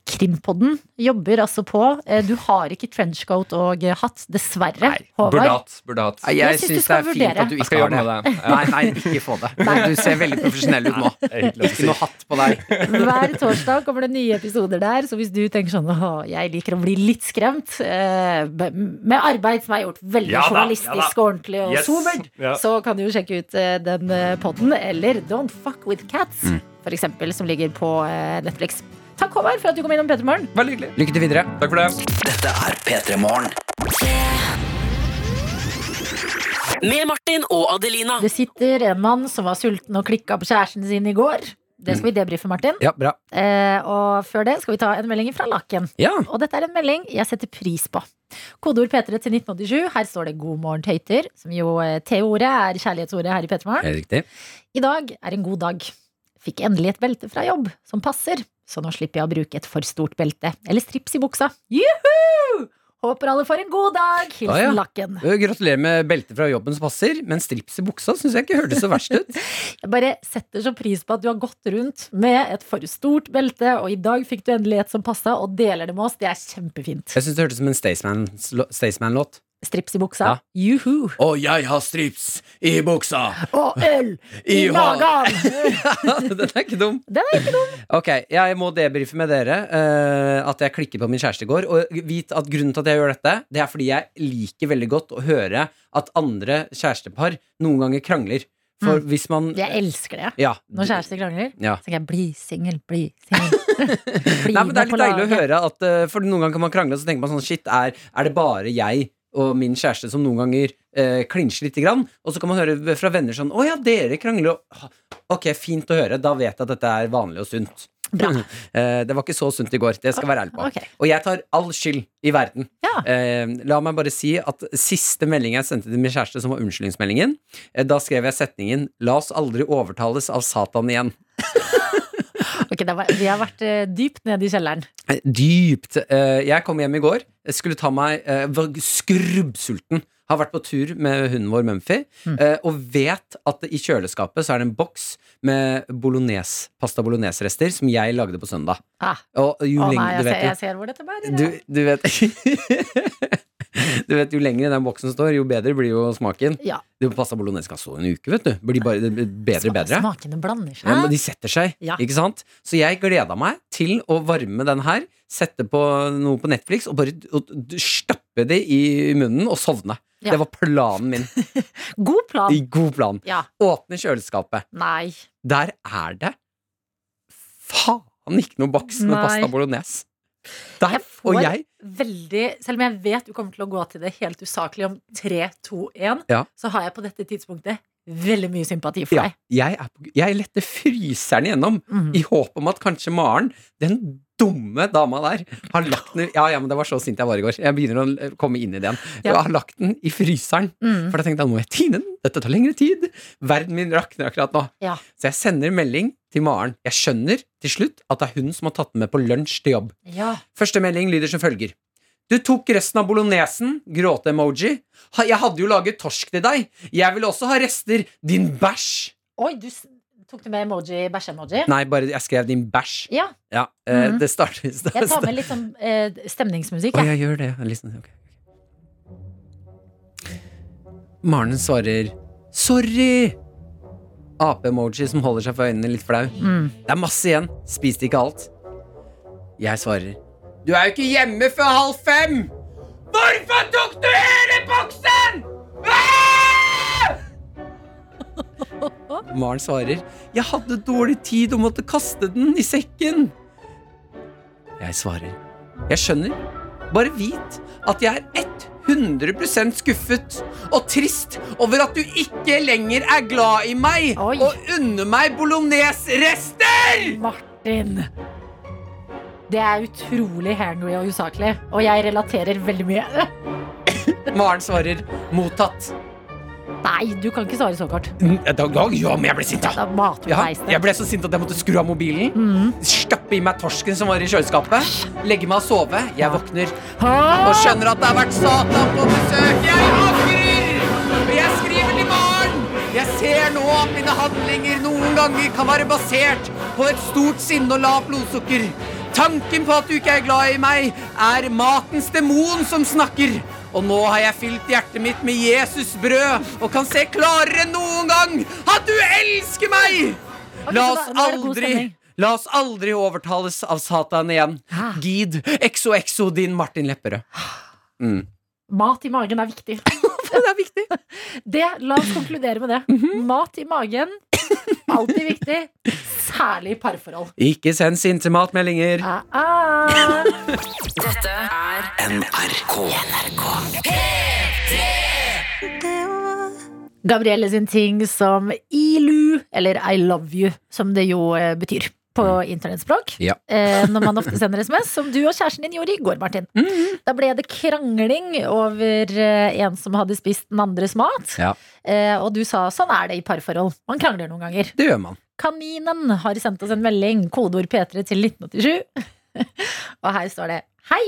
Krimpodden jobber altså på. Eh, Du har ikke trenchcoat og eh, hatt, dessverre.
Burde
Håvard.
hatt. Burde hatt.
Nei, jeg Jeg synes synes det er du skal fint at du vurdere. ikke
Jeg
har
skal jobbe
det.
med det. Ja.
Nei, nei, ikke få det. Du ser veldig profesjonell ut nå.
Nei, det er helt lov å
Ikke
si.
noe hatt på deg.
Hver torsdag kommer det nye episoder der, så hvis du tenker sånn Å, jeg liker å bli litt skremt eh, be- med arbeid som er gjort veldig
Ja da,
journalistisk
ja da.
og ordentlig og
Yes.
sobert,
Ja.
så kan du jo sjekke ut eh, den eh, podden, eller Don't Fuck With Cats,
Mm.
for eksempel, som ligger på eh, Netflix. Takk, Håvard, for at du kom innom Peter Morgen.
Veldig hyggelig.
Lykke til videre.
Takk for det.
Dette er P3 Morgen.
Med Martin og Adelina.
Det sitter en mann som var sulten og klikka på kjæresten sin i går. Det
Mm.
skal vi debrife, Martin.
Ja, bra.
Eh, og før det skal vi ta en melding fra Laken.
Ja.
Og dette er en melding jeg setter pris på. Kodeord P3 til 1987. Her står det 'God morgen, tøyter', som jo eh, T-ordet er kjærlighetsordet her i P3 Morgen.
Helt riktig.
I dag er en god dag. Fikk endelig et belte fra jobb som passer, så nå slipper jeg å bruke et for stort belte eller strips i buksa. Juhu! Håper alle får en god dag! Hilsen
Ja, ja.
Lakken.
Eh, Gratulerer med belte fra jobben som passer, men strips i buksa syns jeg ikke hørtes så verst ut.
Jeg bare setter så pris på at du har gått rundt med et for stort belte, og i dag fikk du endelig et som passa, og deler det med oss. Det er kjempefint.
Jeg syns det hørtes som en Staysman-låt. Staysman
Strips i buksa. Juhu.
Og jeg har strips i buksa!
Og øl i
I (laughs)
magen!
Den er ikke dum.
Den er ikke dum.
Ok, jeg må debrife med dere eh, at jeg klikket på min kjæreste i går. Og vit at grunnen til at jeg gjør dette, det er fordi jeg liker veldig godt å høre at andre kjærestepar noen ganger krangler. For
Mm.
hvis man
Jeg elsker det.
Ja.
Når kjærester krangler,
Ja.
så kan jeg bli singel, bli
(laughs)
singel. Bli
Nei, men Det
med
er
på
litt deilig å
laget.
høre at eh, For noen ganger kan man krangle, og så tenker man sånn Shit, er, er det bare jeg og min kjæreste som noen ganger eh, klinsjer lite grann? Og så kan man høre fra venner sånn Å ja, dere krangler. og- ha, Ok, fint å høre. Da vet jeg at dette er vanlig og sunt. (laughs) Eh, det var ikke så sunt i går. Det skal jeg være ærlig på.
Ok.
Og jeg tar all skyld i verden. Eh, la meg bare si at siste melding jeg sendte til min kjæreste, som var unnskyldningsmeldingen, eh, da skrev jeg setningen 'La oss aldri overtales av Satan igjen'.
Ok, det var, vi har vært eh, dypt nede i kjelleren.
Eh, Dypt. Eh, Jeg kom hjem i går, jeg skulle ta meg eh, var skrubbsulten. Har vært på tur med hunden vår Mumphy,
Mm.
eh, og vet at i kjøleskapet så er det en boks med bolognese, pasta bolognese-rester som jeg lagde på søndag.
Ah.
Og jo
Å nei,
lenger
jeg
du
ser,
vet jo-
jeg ser hvor dette bærer.
du, du vet (laughs) Du vet, Jo lenger den boksen står, jo bedre blir jo smaken.
Ja.
Det Pasta bolognese skal stå en uke, vet du. Blir bare det blir bedre og bedre.
Smakene blander seg.
Ja, men de setter seg,
Ja.
ikke sant? Så jeg gleda meg til å varme den her, sette på noe på Netflix og bare og, d- stappe det i munnen og sovne.
Ja.
Det var planen min.
God plan.
I god plan.
Ja.
Åpne kjøleskapet.
Nei.
Der er det faen ikke noe boks med
Nei.
pasta bolognese. Der, og
Får
jeg
Veldig, selv om jeg vet du kommer til å gå til det helt usaklig om 3, 2, 1,
Ja.
så har jeg på dette tidspunktet veldig mye sympati for
ja,
deg. Mm.
jeg, er på, jeg lette fryseren igjennom i håp om at kanskje Maren, den dumme dama der har lagt den Ja, ja, men det var så sint jeg var i går. Jeg begynner å komme inn i det igjen.
Ja.
Jeg har lagt den i fryseren.
Mm.
For da tenkte jeg nå må jeg tine den. Dette tar lengre tid. Verden min rakner akkurat nå.
Ja.
Så jeg sender melding til Maren. Jeg skjønner til slutt at det er hun som har tatt den med på lunsj til jobb.
Ja.
Første melding lyder som følger. Du tok resten av bolognesen, gråte-emoji. Ha- Jeg hadde jo laget torsk til deg. Jeg vil også ha rester. Din bæsj.
Oi, du s- tok du med emoji, bæsje-emoji?
Nei, bare jeg skrev din bæsj.
Ja.
Ja, eh,
Mhm.
Det startes
Jeg
(laughs)
tar med litt sånn eh, stemningsmusikk.
Å,
jeg.
jeg gjør det. Jeg Listen, ok. Maren svarer Sorry! Ape-emoji som holder seg for øynene litt flau.
Mm.
Det er masse igjen. Spiste ikke alt. Jeg svarer Du er jo ikke hjemme før halv fem! Hvorfor tok du hele boksen?! (laughs) Maren svarer Jeg hadde dårlig tid og måtte kaste den i sekken. Jeg svarer Jeg skjønner. Bare vit at jeg er 100 skuffet og trist over at du ikke lenger er glad i meg og unner meg bolognesrester!
Martin! Det er utrolig Henry og usaklig, og jeg relaterer veldig mye.
Maren svarer mottatt.
Nei, du kan ikke svare så kort.
Da, da, ja, men jeg ble sint,
da. mater du
Ja,
beistet.
jeg ble så sint at jeg måtte skru av mobilen. Stappe i meg torsken som var i kjøleskapet. Legge meg og sove. Jeg våkner og skjønner at det har vært Satan på besøk. Jeg angrer! Og jeg skriver til Maren. Jeg ser nå at mine handlinger noen ganger kan være basert på et stort sinne og lavt blodsukker. Tanken på at du ikke er glad i meg, er matens demon som snakker. Og nå har jeg fylt hjertet mitt med Jesus brød og kan se klarere enn noen gang at du elsker meg!
Ok,
La
så
oss
da- nå er det god
aldri
stemning.
La oss aldri overtales av Satan igjen. Gid, exo-exo, din Martin Lepperød. Mm.
Mat i magen er viktig.
(laughs) det er viktig.
(laughs)
Mhm.
la oss konkludere med det. Mat i magen, alltid viktig. Særlig i parforhold.
Ikke send sinte matmeldinger.
Ah.
Dette er
NRK.
Gabrielle sin ting som ILU, eller I love you, som det jo eh, betyr på internettspråk.
Mm. Ja.
eh, når man ofte sender SMS, som du og kjæresten din gjorde i går, Martin.
Mm.
Da ble det krangling over eh, en som hadde spist den andres mat.
Ja,
Eh, og du sa sånn er det i parforhold. Man krangler noen ganger.
det gjør man.
Kaninen har sendt oss en melding, kodeord P3 til 1987. og her står det Hei!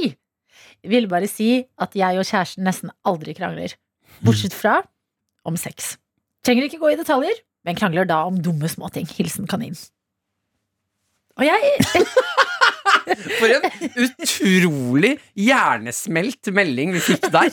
Vil bare si at jeg og kjæresten nesten aldri krangler. Bortsett fra om sex. Trenger ikke gå i detaljer, men krangler da om dumme småting. Hilsen kanin. Og jeg
For en utrolig hjernesmelt melding vi fikk der.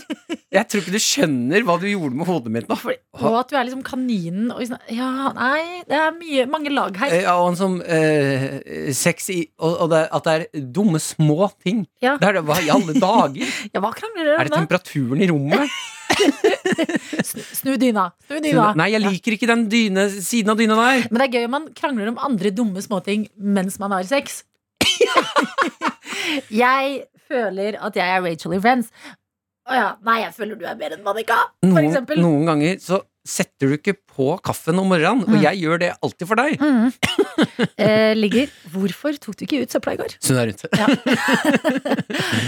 Jeg tror ikke du skjønner hva du gjorde med hodet mitt nå. For,
Og at du er liksom kaninen og sånn Ja, nei, det er mye, mange lag her.
Eh, ja, og en sånn eh, sex i Og, og det, at det er dumme, små ting.
Ja.
Det er det, hva i
(laughs)
alle dager?
Ja, hva krangler dere
Er det
om, da?
temperaturen i
(laughs)
rommet?
Snu dyna. Snu dyna.
Nei, jeg liker ikke den dyne, siden av dyna der.
Men det er gøy om man krangler om andre dumme småting mens man har (laughs) sex. jeg føler at jeg er Rachel i Friends. Å ja. Nei, jeg føler du er bedre enn Monica, for
Noen,
eksempel.
noen ganger så setter du ikke på kaffen om morgenen, og
Mm.
jeg gjør det alltid for deg.
Mm. Eh, ligger Hvorfor tok du ikke ut søpla i går?
Så det er rundt.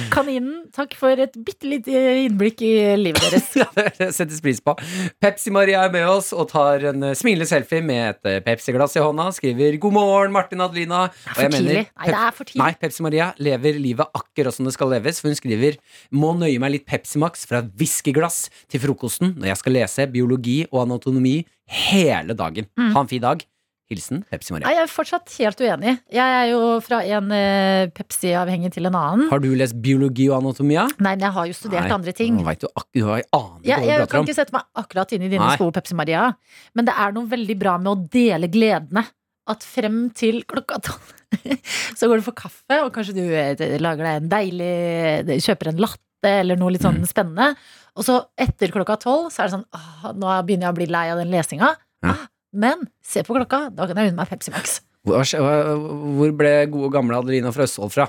Kaninen, takk for et bitte lite innblikk i (laughs) livet deres.
(laughs) Ja, det settes pris på. Pepsi-Maria er med oss og tar en eh, smilende selfie med et eh, Pepsi-glass i hånda. Skriver 'God morgen, Martin Adelina'. Og
for tidlig. Nei, det er for tidlig.
Nei, Pepsi-Maria lever livet akkurat som det skal leves. For hun skriver 'Må nøye meg litt Pepsi Max fra whiskyglass til frokosten' 'når jeg skal lese biologi og anatomi hele dagen'.
Mm.
Ha en fin dag. Hilsen Pepsi-Maria.
Nei, jeg er fortsatt helt uenig. Jeg er jo fra en eh, Pepsi-avhengig til en annen.
Har du lest biologi og anatomi? ja?
Nei, men jeg har jo studert
Nei,
andre ting.
Nå vet du, ak du har aner
Jeg,
hva du
jeg
prater
kan
om.
ikke sette meg akkurat inn i dine
Nei.
sko, Pepsi Maria. Men det er noe veldig bra med å dele gledene. At frem til klokka tolv (laughs) så går du for kaffe, og kanskje du eh, lager deg en deilig eh, Kjøper en latte eller noe litt sånn
Mm.
spennende. Og så etter klokka tolv så er det sånn «Åh, Nå begynner jeg å bli lei av den lesinga.
Ja.
Ah, men se på klokka, da kan jeg unne meg Pepsi Max.
Hva skje- hva- Hvor ble gode gamle Adelina fra Østfold fra?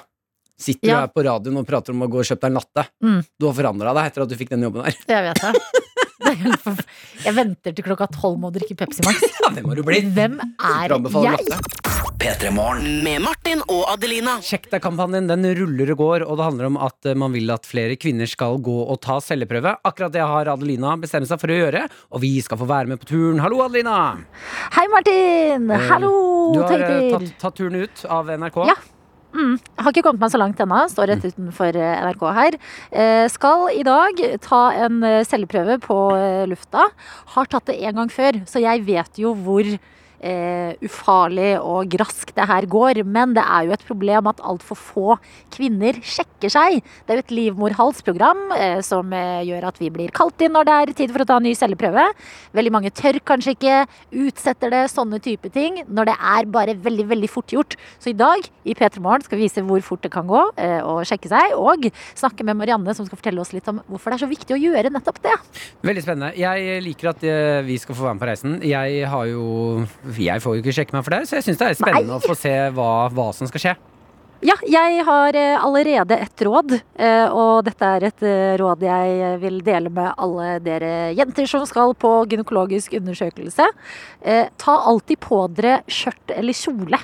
Sitter
Ja.
du her på radioen og prater om å gå og kjøpe deg en latte?
Mm.
Du har forandra deg etter at du fikk den jobben her.
Jeg
(laughs)
vet det. Det er helt forf- Jeg venter til klokka tolv med å drikke Pepsi Max.
Ja, hvem har du blitt?
Hvem er
Anbefaler
jeg?
latte.
P3 Morgen.
Med Martin og Adelina.
Sjekk deg-kampanjen den ruller og går, og det handler om at eh, man vil at flere kvinner skal gå og ta celleprøve. Akkurat det har Adelina bestemt seg for å gjøre, og vi skal få være med på turen. Hallo, Adelina!
Hei, Martin!
Eh,
Hallo,
Du har eh,
Tøyter!
tatt, tatt turen ut av NRK.
Ja. Mm. Jeg Har ikke kommet meg så langt ennå. Står
Mm.
rett utenfor eh, NRK her. Eh, skal i dag ta en eh, celleprøve på eh, lufta. Har tatt det en gang før, så jeg vet jo hvor eh, ufarlig og raskt det her går. Men det er jo et problem at altfor få kvinner sjekker seg. Det er jo et livmorhalsprogram eh, som eh, gjør at vi blir kalt inn når det er tid for å ta en ny celleprøve. Veldig mange tør kanskje ikke, utsetter det, sånne type ting. Når det er bare veldig, veldig fort gjort. Så i dag i P3 Morgen skal vi vise hvor fort det kan gå eh, å sjekke seg. Og snakke med Marianne som skal fortelle oss litt om hvorfor det er så viktig å gjøre nettopp det.
Veldig spennende. Jeg liker at eh, vi skal få være med på reisen. Jeg har jo Jeg får jo ikke sjekke meg for deg, så jeg syns det er spennende
Nei.
å få se hva, hva som skal skje.
Ja, jeg har eh, allerede et råd, eh, og dette er et eh, råd jeg eh, vil dele med alle dere jenter som skal på gynekologisk undersøkelse. Eh, Ta alltid på dere skjørt eller kjole.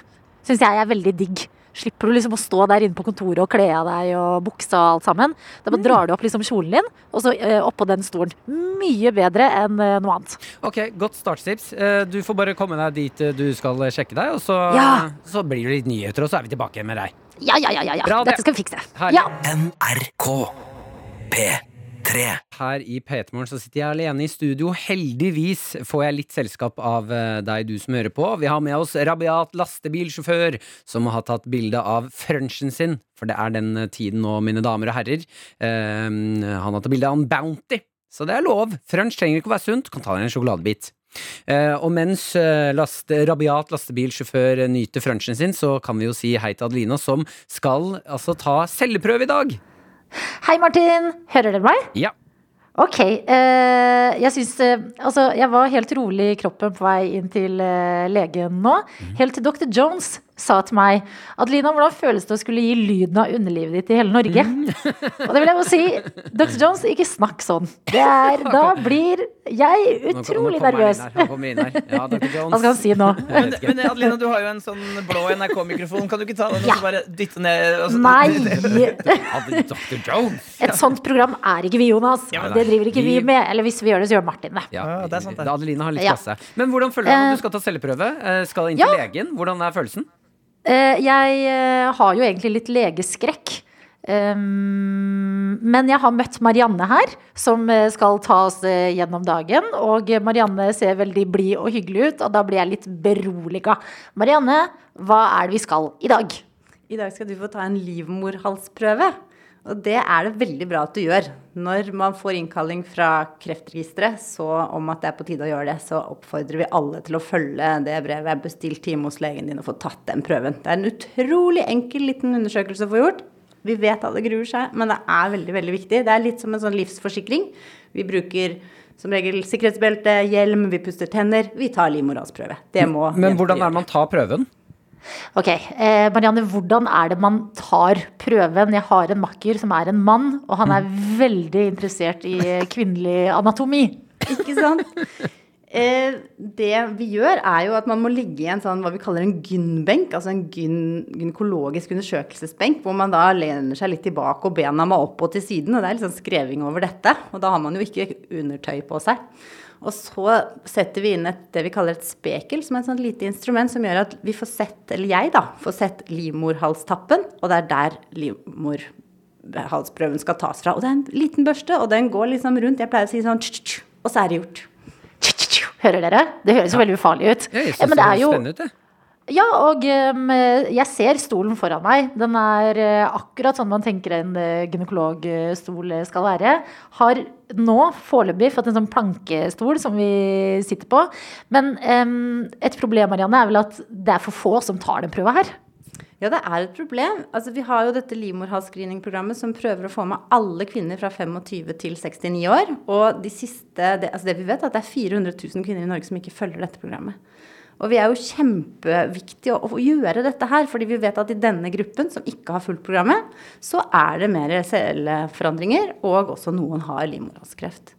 Syns jeg er veldig digg. Slipper du liksom å stå der inne på kontoret og kle av deg og buksa og alt sammen. Da
Mm.
bare drar du opp liksom kjolen din, og så eh, oppå den stolen. Mye bedre enn eh, noe annet.
Ok, Godt startstips. Eh, Du får bare komme deg dit eh, du skal eh, sjekke deg, og så,
Ja.
så blir det litt nyheter, og så er vi tilbake med deg.
Ja, ja, ja, ja. ja.
Bra, det.
Dette skal vi fikse.
Herlig.
Ja.
NRK P3.
Her i P3morgen så sitter jeg alene i studio. Heldigvis får jeg litt selskap av eh, deg, du som hører på. Vi har med oss rabiat lastebilsjåfør som har tatt bilde av frunchen sin. For det er den eh, tiden nå, mine damer og herrer. Eh, Han har tatt bilde av en Bounty. Så det er lov. Frunch trenger ikke å være sunt. Kan ta deg en sjokoladebit. Eh, og mens eh, laste, rabiat lastebilsjåfør eh, nyter frunchen sin, så kan vi jo si hei til Adelina, som skal altså ta celleprøve i dag.
Hei, Martin. Hører dere meg?
Ja.
Ok. eh, jeg syns eh, Altså, jeg var helt rolig i kroppen på vei inn til eh, legen nå.
Mhm.
Helt til dr. Jones sa til meg Adelina, hvordan føles det å skulle gi lyden av underlivet ditt til hele Norge?
Mhm.
(laughs) Og det vil jeg jo si. Dr. Jones, ikke snakk sånn. Det
(laughs)
er, da blir jeg
Nå- nå
utrolig
kommer han
nervøs.
inn her, han kommer inn her. Ja, Dr.
(laughs)
Jones.
Hva skal han si nå?
(laughs)
Men, men Adelina, du har jo en sånn blå NRK-mikrofon. Kan du ikke ta den og så bare dytte ned? Og så,
(laughs)
Nei!
Dr. Jones!
Et sånt program er ikke vi, Jonas.
Ja, men
Det
nei,
driver ikke vi
vi-
med. Eller hvis vi gjør det, så gjør Martin det.
Ja, Adeline har litt
Ja.
klasse. Men hvordan føler du deg
Eh,
når du skal ta celleprøve? Eh, Skal inn til legen? Hvordan er følelsen?
Eh, jeg eh, har jo egentlig litt legeskrekk. Um, men jeg har møtt Marianne her, som eh, skal ta oss eh, gjennom dagen. Og eh, Marianne ser veldig blid og hyggelig ut, og da blir jeg litt beroliga. Marianne, hva er det vi skal i dag?
I dag skal du få ta en livmorhalsprøve. Og det er det veldig bra at du gjør. Når man får innkalling fra Kreftregisteret så om at det er på tide å gjøre det, så oppfordrer vi alle til å følge det brevet. Bestill time hos legen din og få tatt den prøven. Det er en utrolig enkel liten undersøkelse å få gjort. Vi vet alle gruer seg, men det er veldig, veldig viktig. Det er litt som en sånn livsforsikring. Vi bruker som regel sikkerhetsbelte, hjelm, vi puster tenner. Vi tar livmorhalsprøve. Det må
Men hvordan er det man tar prøven?
Ok, eh, Marianne, hvordan er det man tar prøven? Jeg har en makker som er en mann, og han er
Mm.
veldig interessert i eh, kvinnelig anatomi.
Ikke sant? Eh, det vi gjør, er jo at man må ligge i en sånn hva vi kaller en gynbenk, altså en gyn, gynekologisk undersøkelsesbenk, hvor man da lener seg litt tilbake og bena må opp og til siden, og det er litt sånn skreving over dette. Og da har man jo ikke undertøy på seg. Og så setter vi inn et, det vi kaller et spekel, som er et sånt lite instrument som gjør at vi får sett, eller jeg da, får sett livmorhalstappen, og det er der livmorhalsprøven skal tas fra. Og det er en liten børste, og den går liksom rundt, jeg pleier å si sånn, tsk, tsk, og så er det gjort.
Hører dere? Det høres jo veldig ufarlig ut.
jeg synes
Eh, men
det
er
høres
jo-
spennende ut, jeg.
Ja, og em, jeg ser stolen foran meg. Den er eh, akkurat sånn man tenker en eh, gynekologstol eh, skal være. Har nå foreløpig fått en sånn plankestol som vi sitter på. Men em, et problem, Marianne, er vel at det er for få som tar den prøva her.
Ja, det er et problem. Altså, vi har jo dette livmorhalsscreeningprogrammet som prøver å få med alle kvinner fra 25 til 69 år. Og de siste, det, altså det vi vet, er at det er 400 000 kvinner i Norge som ikke følger dette programmet. Og vi er jo kjempeviktige å, å gjøre dette her, fordi vi vet at i denne gruppen som ikke har fulgt programmet, så er det mer celleforandringer, og også noen har livmorhalskreft.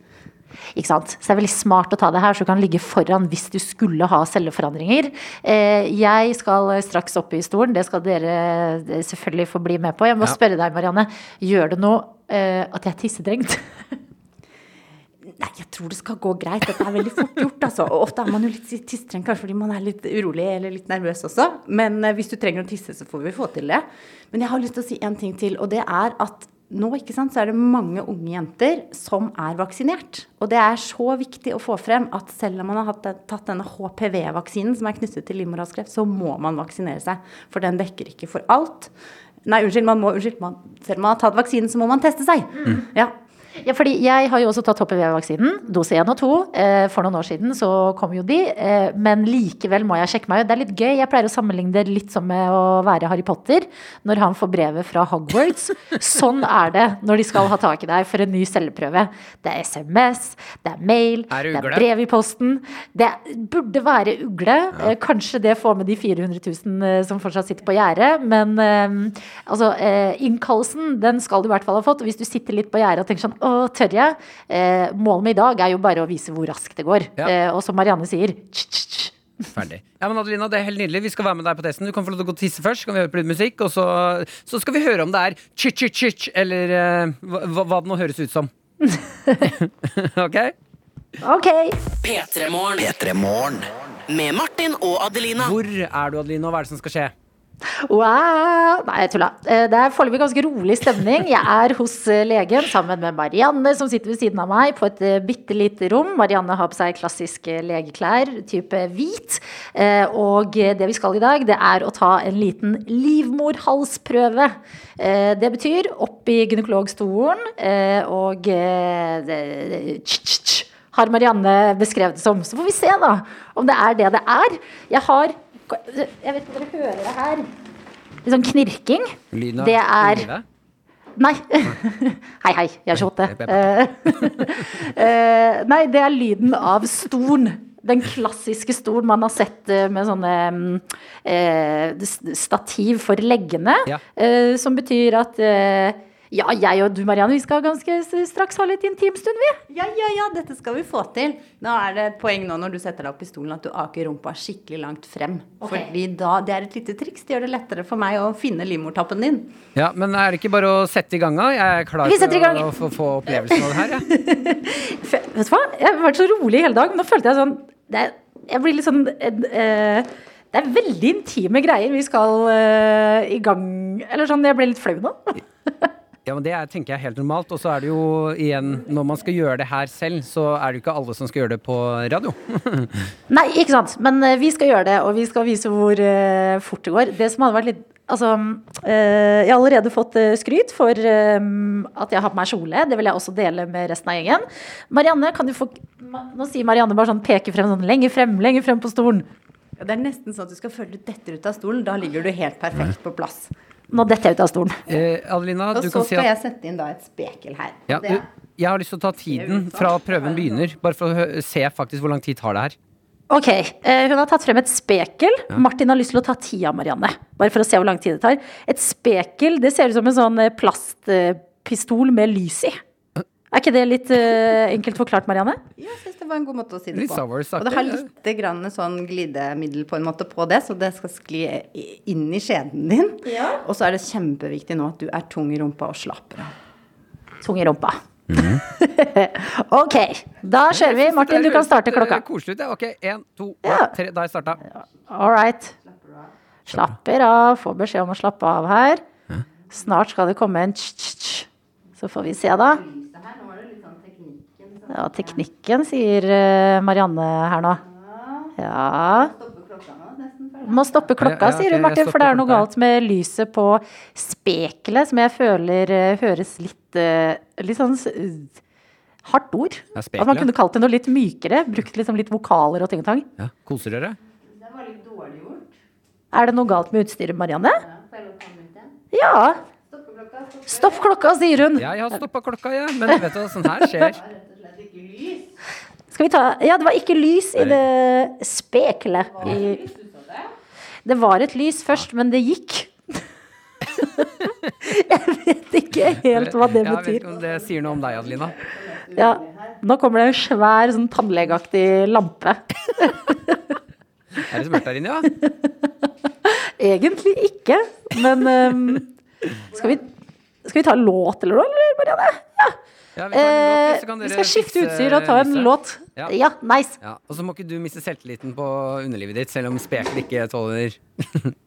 Ikke sant? Så det er veldig smart å ta det her, så du kan ligge foran hvis du skulle ha celleforandringer. Eh, Jeg skal straks opp i stolen, det skal dere eh, selvfølgelig få bli med på. Jeg må
Ja.
spørre deg, Marianne, gjør det noe eh, at jeg er tissetrengt?
Nei, jeg tror det skal gå greit. Dette er veldig fort gjort, altså. Og ofte er man jo litt tissetrengt, kanskje fordi man er litt urolig eller litt nervøs også. Men eh, hvis du trenger å tisse, så får vi få til det. Men jeg har lyst til å si en ting til, og det er at nå ikke sant, så er det mange unge jenter som er vaksinert. Og det er så viktig å få frem at selv om man har hatt, den- tatt denne HPV-vaksinen som er knyttet til livmorhalskreft, så må man vaksinere seg. For den dekker ikke for alt. Nei, unnskyld, man må, unnskyld man, selv om man har tatt vaksinen, så må man teste seg. Ja.
Ja, fordi jeg har jo også tatt HPV-vaksinen, dose 1 og 2. Eh, for noen år siden så kom jo de, eh, men likevel må jeg sjekke meg ut. Det er litt gøy. Jeg pleier å sammenligne det litt som med å være Harry Potter når han får brevet fra Hogwarts. Sånn er det når de skal ha tak i deg for en ny celleprøve. Det er SMS, det er mail,
Er det
det
ugle?
er brev i posten. Det burde være ugle. Eh, Kanskje det får med de 400 000 eh, som fortsatt sitter på gjerdet. Men eh, altså, eh, innkallelsen den skal du i hvert fall ha fått. Og hvis du sitter litt på gjerdet og tenker sånn Å, tør jeg? Eh, målet med i dag er jo bare å vise hvor raskt det går.
Ja.
Eh, og som Marianne sier tsk, tsk, tsk.
Ferdig. Ja, men Adelina, det er helt nydelig. Vi skal være med deg på testen. Du kan få lov til å gå og tisse først, så kan vi høre på litt musikk, og så, så skal vi høre om det er ch-ch-ch, eller eh, hva, hva- hva det nå
(laughs)
høres ut som. (laughs) ok?
Ok.
P3-morgen. Med Martin og Adelina.
Hvor er du, Adelina, og hva er det som skal skje?
Wow. Nei, jeg tulla. Eh, Det er foreløpig ganske rolig stemning. Jeg er hos eh, legen sammen med Marianne, som sitter ved siden av meg på et eh, bitte lite rom. Marianne har på seg klassiske legeklær, type hvit. Eh, Og eh, det vi skal i dag, det er å ta en liten livmorhalsprøve. Eh, Det betyr opp i gynekologstolen, eh, og eh, det- det- tsk, tsk, tsk, har Marianne beskrevet det som. Så får vi se da om det er det det er. Jeg har Jeg vet ikke om dere hører det her. Litt sånn knirking.
Lyden av
Det er
livet?
Nei. (laughs) Hei, hei. Jeg er 28. Eh, eh, Nei, det er lyden av stolen. Den klassiske stolen man har sett eh, med sånne mm, eh, s- stativ for leggene.
Ja.
eh, Som betyr at eh, ja, jeg og du Marianne, vi skal ganske s- straks ha litt intimstund, vi.
Ja, ja, ja, dette skal vi få til. Nå er det et poeng nå når du setter deg opp i stolen at du aker rumpa skikkelig langt frem.
Ok.
Fordi da, Det er et lite triks. Det gjør det lettere for meg å finne livmortappen din.
Ja, men er det ikke bare å sette i gang, da? Jeg er klar
Vi setter i gang.
for å få, få opplevelsen av det her, jeg.
Vet du hva? Jeg har vært så rolig hele dag, men nå følte jeg sånn det er, Jeg blir litt sånn eh, Det er veldig intime greier vi skal eh, i gang Eller sånn, jeg ble litt flau nå.
Ja, men Det er, tenker jeg er helt normalt. Og så er det jo igjen, når man skal gjøre det her selv, så er det jo ikke alle som skal gjøre det på radio.
Nei, ikke sant. Men eh, vi skal gjøre det, og vi skal vise hvor eh, fort det går. Det som hadde vært litt Altså, eh, jeg har allerede fått eh, skryt for eh, at jeg har på meg kjole. Det vil jeg også dele med resten av gjengen. Marianne, kan du få Ma- Nå sier Marianne bare sånn, peker frem sånn lenger frem, lenger frem på stolen.
Ja, det er nesten sånn at du skal føle du detter ut av stolen. Da ligger du helt perfekt på plass.
Nå detter jeg ut av stolen.
Eh, Adelina,
Og
du
så
kan si
skal jeg
at
sette inn da et spekel her.
ja,
Det er-
du, Jeg har lyst til å ta tiden fra prøven begynner, bare for å hø- se faktisk hvor lang tid tar det her.
Ok, eh, Hun har tatt frem et spekel.
Ja.
Martin har lyst til å ta tida, Marianne. Bare for å se hvor lang tid det tar. Et spekel det ser ut som en sånn plastpistol med lys i. Er ikke det litt eh, enkelt forklart, Marianne?
Jeg synes det var en god måte å si det
Litt
på.
Star Wars-aktig,
Og det har
ja.
litt grann sånn glidemiddel på en måte på det, så det skal skli i- inn i skjeden din. Og så er det kjempeviktig nå at du er tung i rumpa og slapper av.
Tung i rumpa. (laughs) ok, da kjører vi. Martin, du kan starte klokka.
Det høres litt, eh, Koselig ut, ja. Ok, én, to, ja. tre. Da har jeg starta.
All right. Slapper av. Får beskjed om å slappe av her. Snart skal det komme en tsk-tsk-tsk. Så får vi se, da. Ja, teknikken, sier eh, Marianne her nå. Ja. Må stoppe
Ja,
klokka,
ja,
sier
ok,
hun, Martin,
jeg
for det er noe
stopper klokka,
galt med lyset på spekelet, som jeg føler eh, høres litt eh, Litt sånn s- hardt ord.
Ja,
At man
spekelet.
kunne kalt det noe litt mykere. Brukt liksom litt vokaler og ting og tang.
Ja, Koser dere?
Er det noe galt med utstyret, Marianne? Ja. Stopp klokka, sier hun.
Ja, jeg har stoppa klokka, jeg. Men vet du, hva, sånn her skjer.
Skal vi ta Ja, det var ikke lys i det spekelet. I... Det var et lys først, men det gikk. (laughs) Jeg vet ikke helt hva det
Ja, Jeg vet
betyr.
ikke om det sier noe om deg, Adelina.
Ja. Nå kommer det en svær sånn tannlegeaktig lampe.
Er det smerte der inne, ja?
Egentlig ikke, men ehm, skal, vi, skal vi ta en låt eller noe, eller, Marianne?
ja vi, tar en låt,
Eh,
så kan
vi
dere
skal skifte
fikse
utstyr og ta en
lyset.
låt.
Ja.
Ja, nice.
Ja, Og så må ikke du miste selvtilliten på underlivet ditt, selv om speker ikke tåler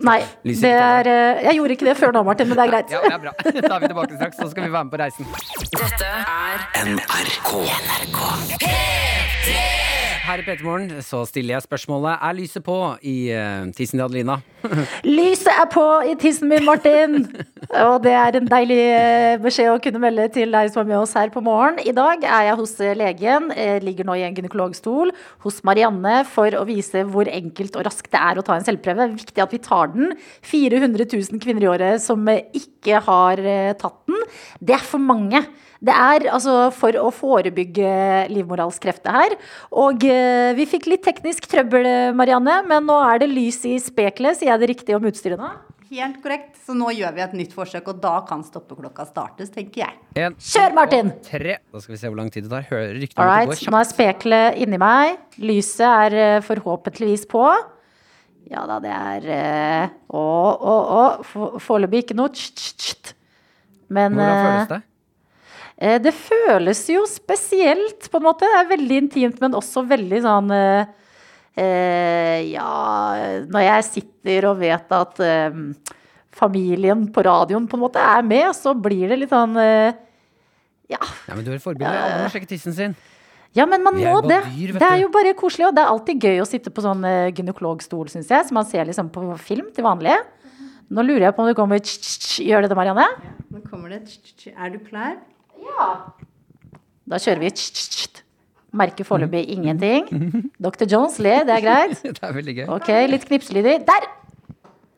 Nei,
Lyset
det er, eh, jeg gjorde ikke det før nå, Martin, men det er greit.
Ja, det er bra. (laughs) Da er vi tilbake straks, så skal vi være med på reisen.
Dette er
NRK. NRK.
Her i P3morgen så stiller jeg spørsmålet Er lyset på i eh, tissen til Adelina?
Lyset er på i tissen min, Martin!
(laughs)
Og det er en deilig eh, beskjed å kunne melde til deg som er med oss her på morgen. I dag er jeg hos eh, legen, eh, ligger nå i en gynekologstol hos Marianne for å vise hvor enkelt og raskt det er å ta en selvprøve. Viktig at vi tar den. 400 000 kvinner i året som eh, ikke har eh, tatt den. Det er for mange. Det er altså for å forebygge livmorhalskreft, det her. Og eh, vi fikk litt teknisk trøbbel, eh, Marianne, men nå er det lys i spekelet. Sier jeg det riktig om utstyret nå?
Helt korrekt. Så nå gjør vi et nytt forsøk, og da kan stoppeklokka startes, tenker jeg.
En,
Kjør, Martin!
tre. Da skal vi se hvor lang tid det tar. Hører ryktene
All
om at
right,
det går
nå er spekelet inni meg. Lyset er eh, forhåpentligvis på. Ja da, det er eh, Å, å, å. Få- Foreløpig ikke noe tsk, tsk, tsk. Men
Hvordan føles
eh,
det?
eh, Det føles jo spesielt, på en måte. Det er veldig intimt, men også veldig sånn eh, eh, Ja, når jeg sitter og vet at eh, familien på radioen på en måte er med, så blir det litt sånn eh,
Ja, men du er et forbilde. Alle må sjekke tissen
(laughs)
sin.
Ja, men man
Vi er jo
må det.
bare dyr, vet
det er
du.
jo bare koselig. Og det er alltid gøy å sitte på sånn eh, gynekologstol, syns jeg, som man ser liksom på film til vanlig. Nå lurer jeg på om du kommer tsk, tsk, tsk. Gjør det det, Marianne?
Nå kommer det et tsk, tsk, tsk. Er du klar?
Da kjører vi tsk, tsk, tsk. Merker foreløpig ingenting. Dr. Jones ler, det er greit.
Det er veldig gøy.
Ok, litt knipselyder. Der!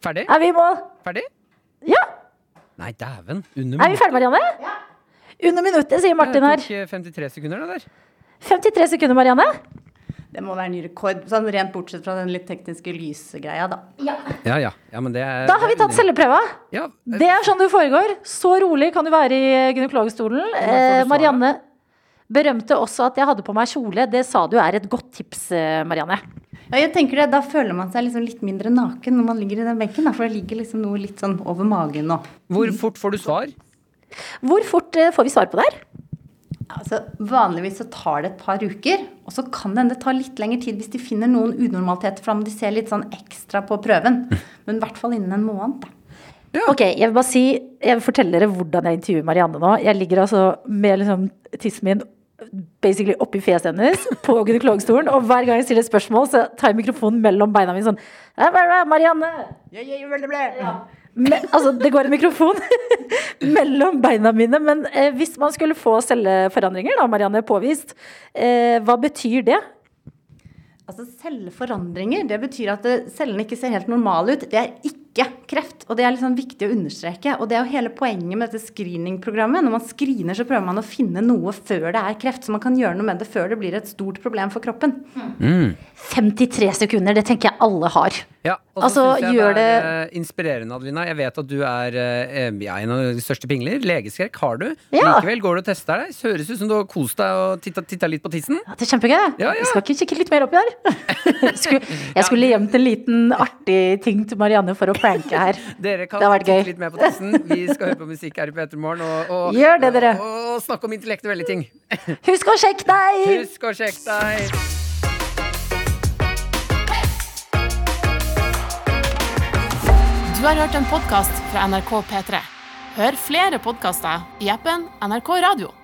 Ferdig?
Er vi i mål?
Ferdig?
Ja!
Nei, dæven. Under
Er vi ferdig, Marianne? Ja. Under minuttet, sier Martin her.
Det tok eh, 53 sekunder, det der.
53 sekunder, Marianne.
Det må være ny rekord, sånn rent bortsett fra den litt tekniske lysegreia, da.
Ja, ja. ja men det er,
Da har vi
det er
tatt
under-
celleprøva.
Ja, eh,
Det er sånn det foregår. Så rolig kan du være i gynekologstolen. Eh, Marianne berømte også at jeg hadde på meg kjole. Det sa du er et godt tips, eh, Marianne.
Ja, jeg tenker det, Da føler man seg liksom litt mindre naken når man ligger i den benken, da, for det ligger liksom noe litt sånn over magen nå.
Hvor fort får du svar?
Hvor fort eh, får vi svar på det her?
Altså, vanligvis så tar det et par uker, og så kan det hende det tar litt lengre tid hvis de finner noen unormaliteter fram. De ser litt sånn ekstra på prøven, men i hvert fall innen en måned. da.
Ok, jeg vil bare si Jeg vil fortelle dere hvordan jeg intervjuer Marianne nå. Jeg ligger altså med liksom tissen min basically oppi fjeset hennes på gynekologstolen, og hver gang jeg stiller et spørsmål, så tar jeg mikrofonen mellom beina mine sånn «Eh, hva er det, Marianne! Me, altså, det går en mikrofon (laughs) mellom beina mine, men eh, hvis man skulle få celleforandringer, da, Marianne, påvist, eh, hva betyr det?
Altså Celleforandringer det betyr at eh, cellene ikke ser helt normale ut. Det er ikke kreft, og det er liksom viktig å understreke. Og det er jo hele poenget med dette screeningprogrammet. Når man screener, så prøver man å finne noe før det er kreft, så man kan gjøre noe med det før det blir et stort problem for kroppen.
53 sekunder, det tenker jeg alle har.
Ja, og så
Altså,
synes jeg
gjør
det er eh, inspirerende, Adelina. Jeg vet at du er eh, ja, en av de største pingler. Legeskrekk har du.
Ja.
Likevel går du og tester deg. Høres ut som du har kost deg og titta, titta litt på tissen.
Ja, det er kjempegøy.
Ja, ja.
Jeg skal ikke kikke litt mer
(laughs)
oppi der. Skulle, jeg skulle gjemt en liten artig ting til Marianne for å pranke
(laughs)
her.
Dere kan
Det har vært
titte
gøy.
litt mer på tissen. Vi skal høre på musikk her i Petermorgen og, og,
Gjør det, dere.
og, og snakke om intellektuelle ting.
Husk å sjekke deg!
Husk å sjekke deg!
Du har hørt en podkast fra NRK P3. Hør flere podkaster i appen NRK Radio.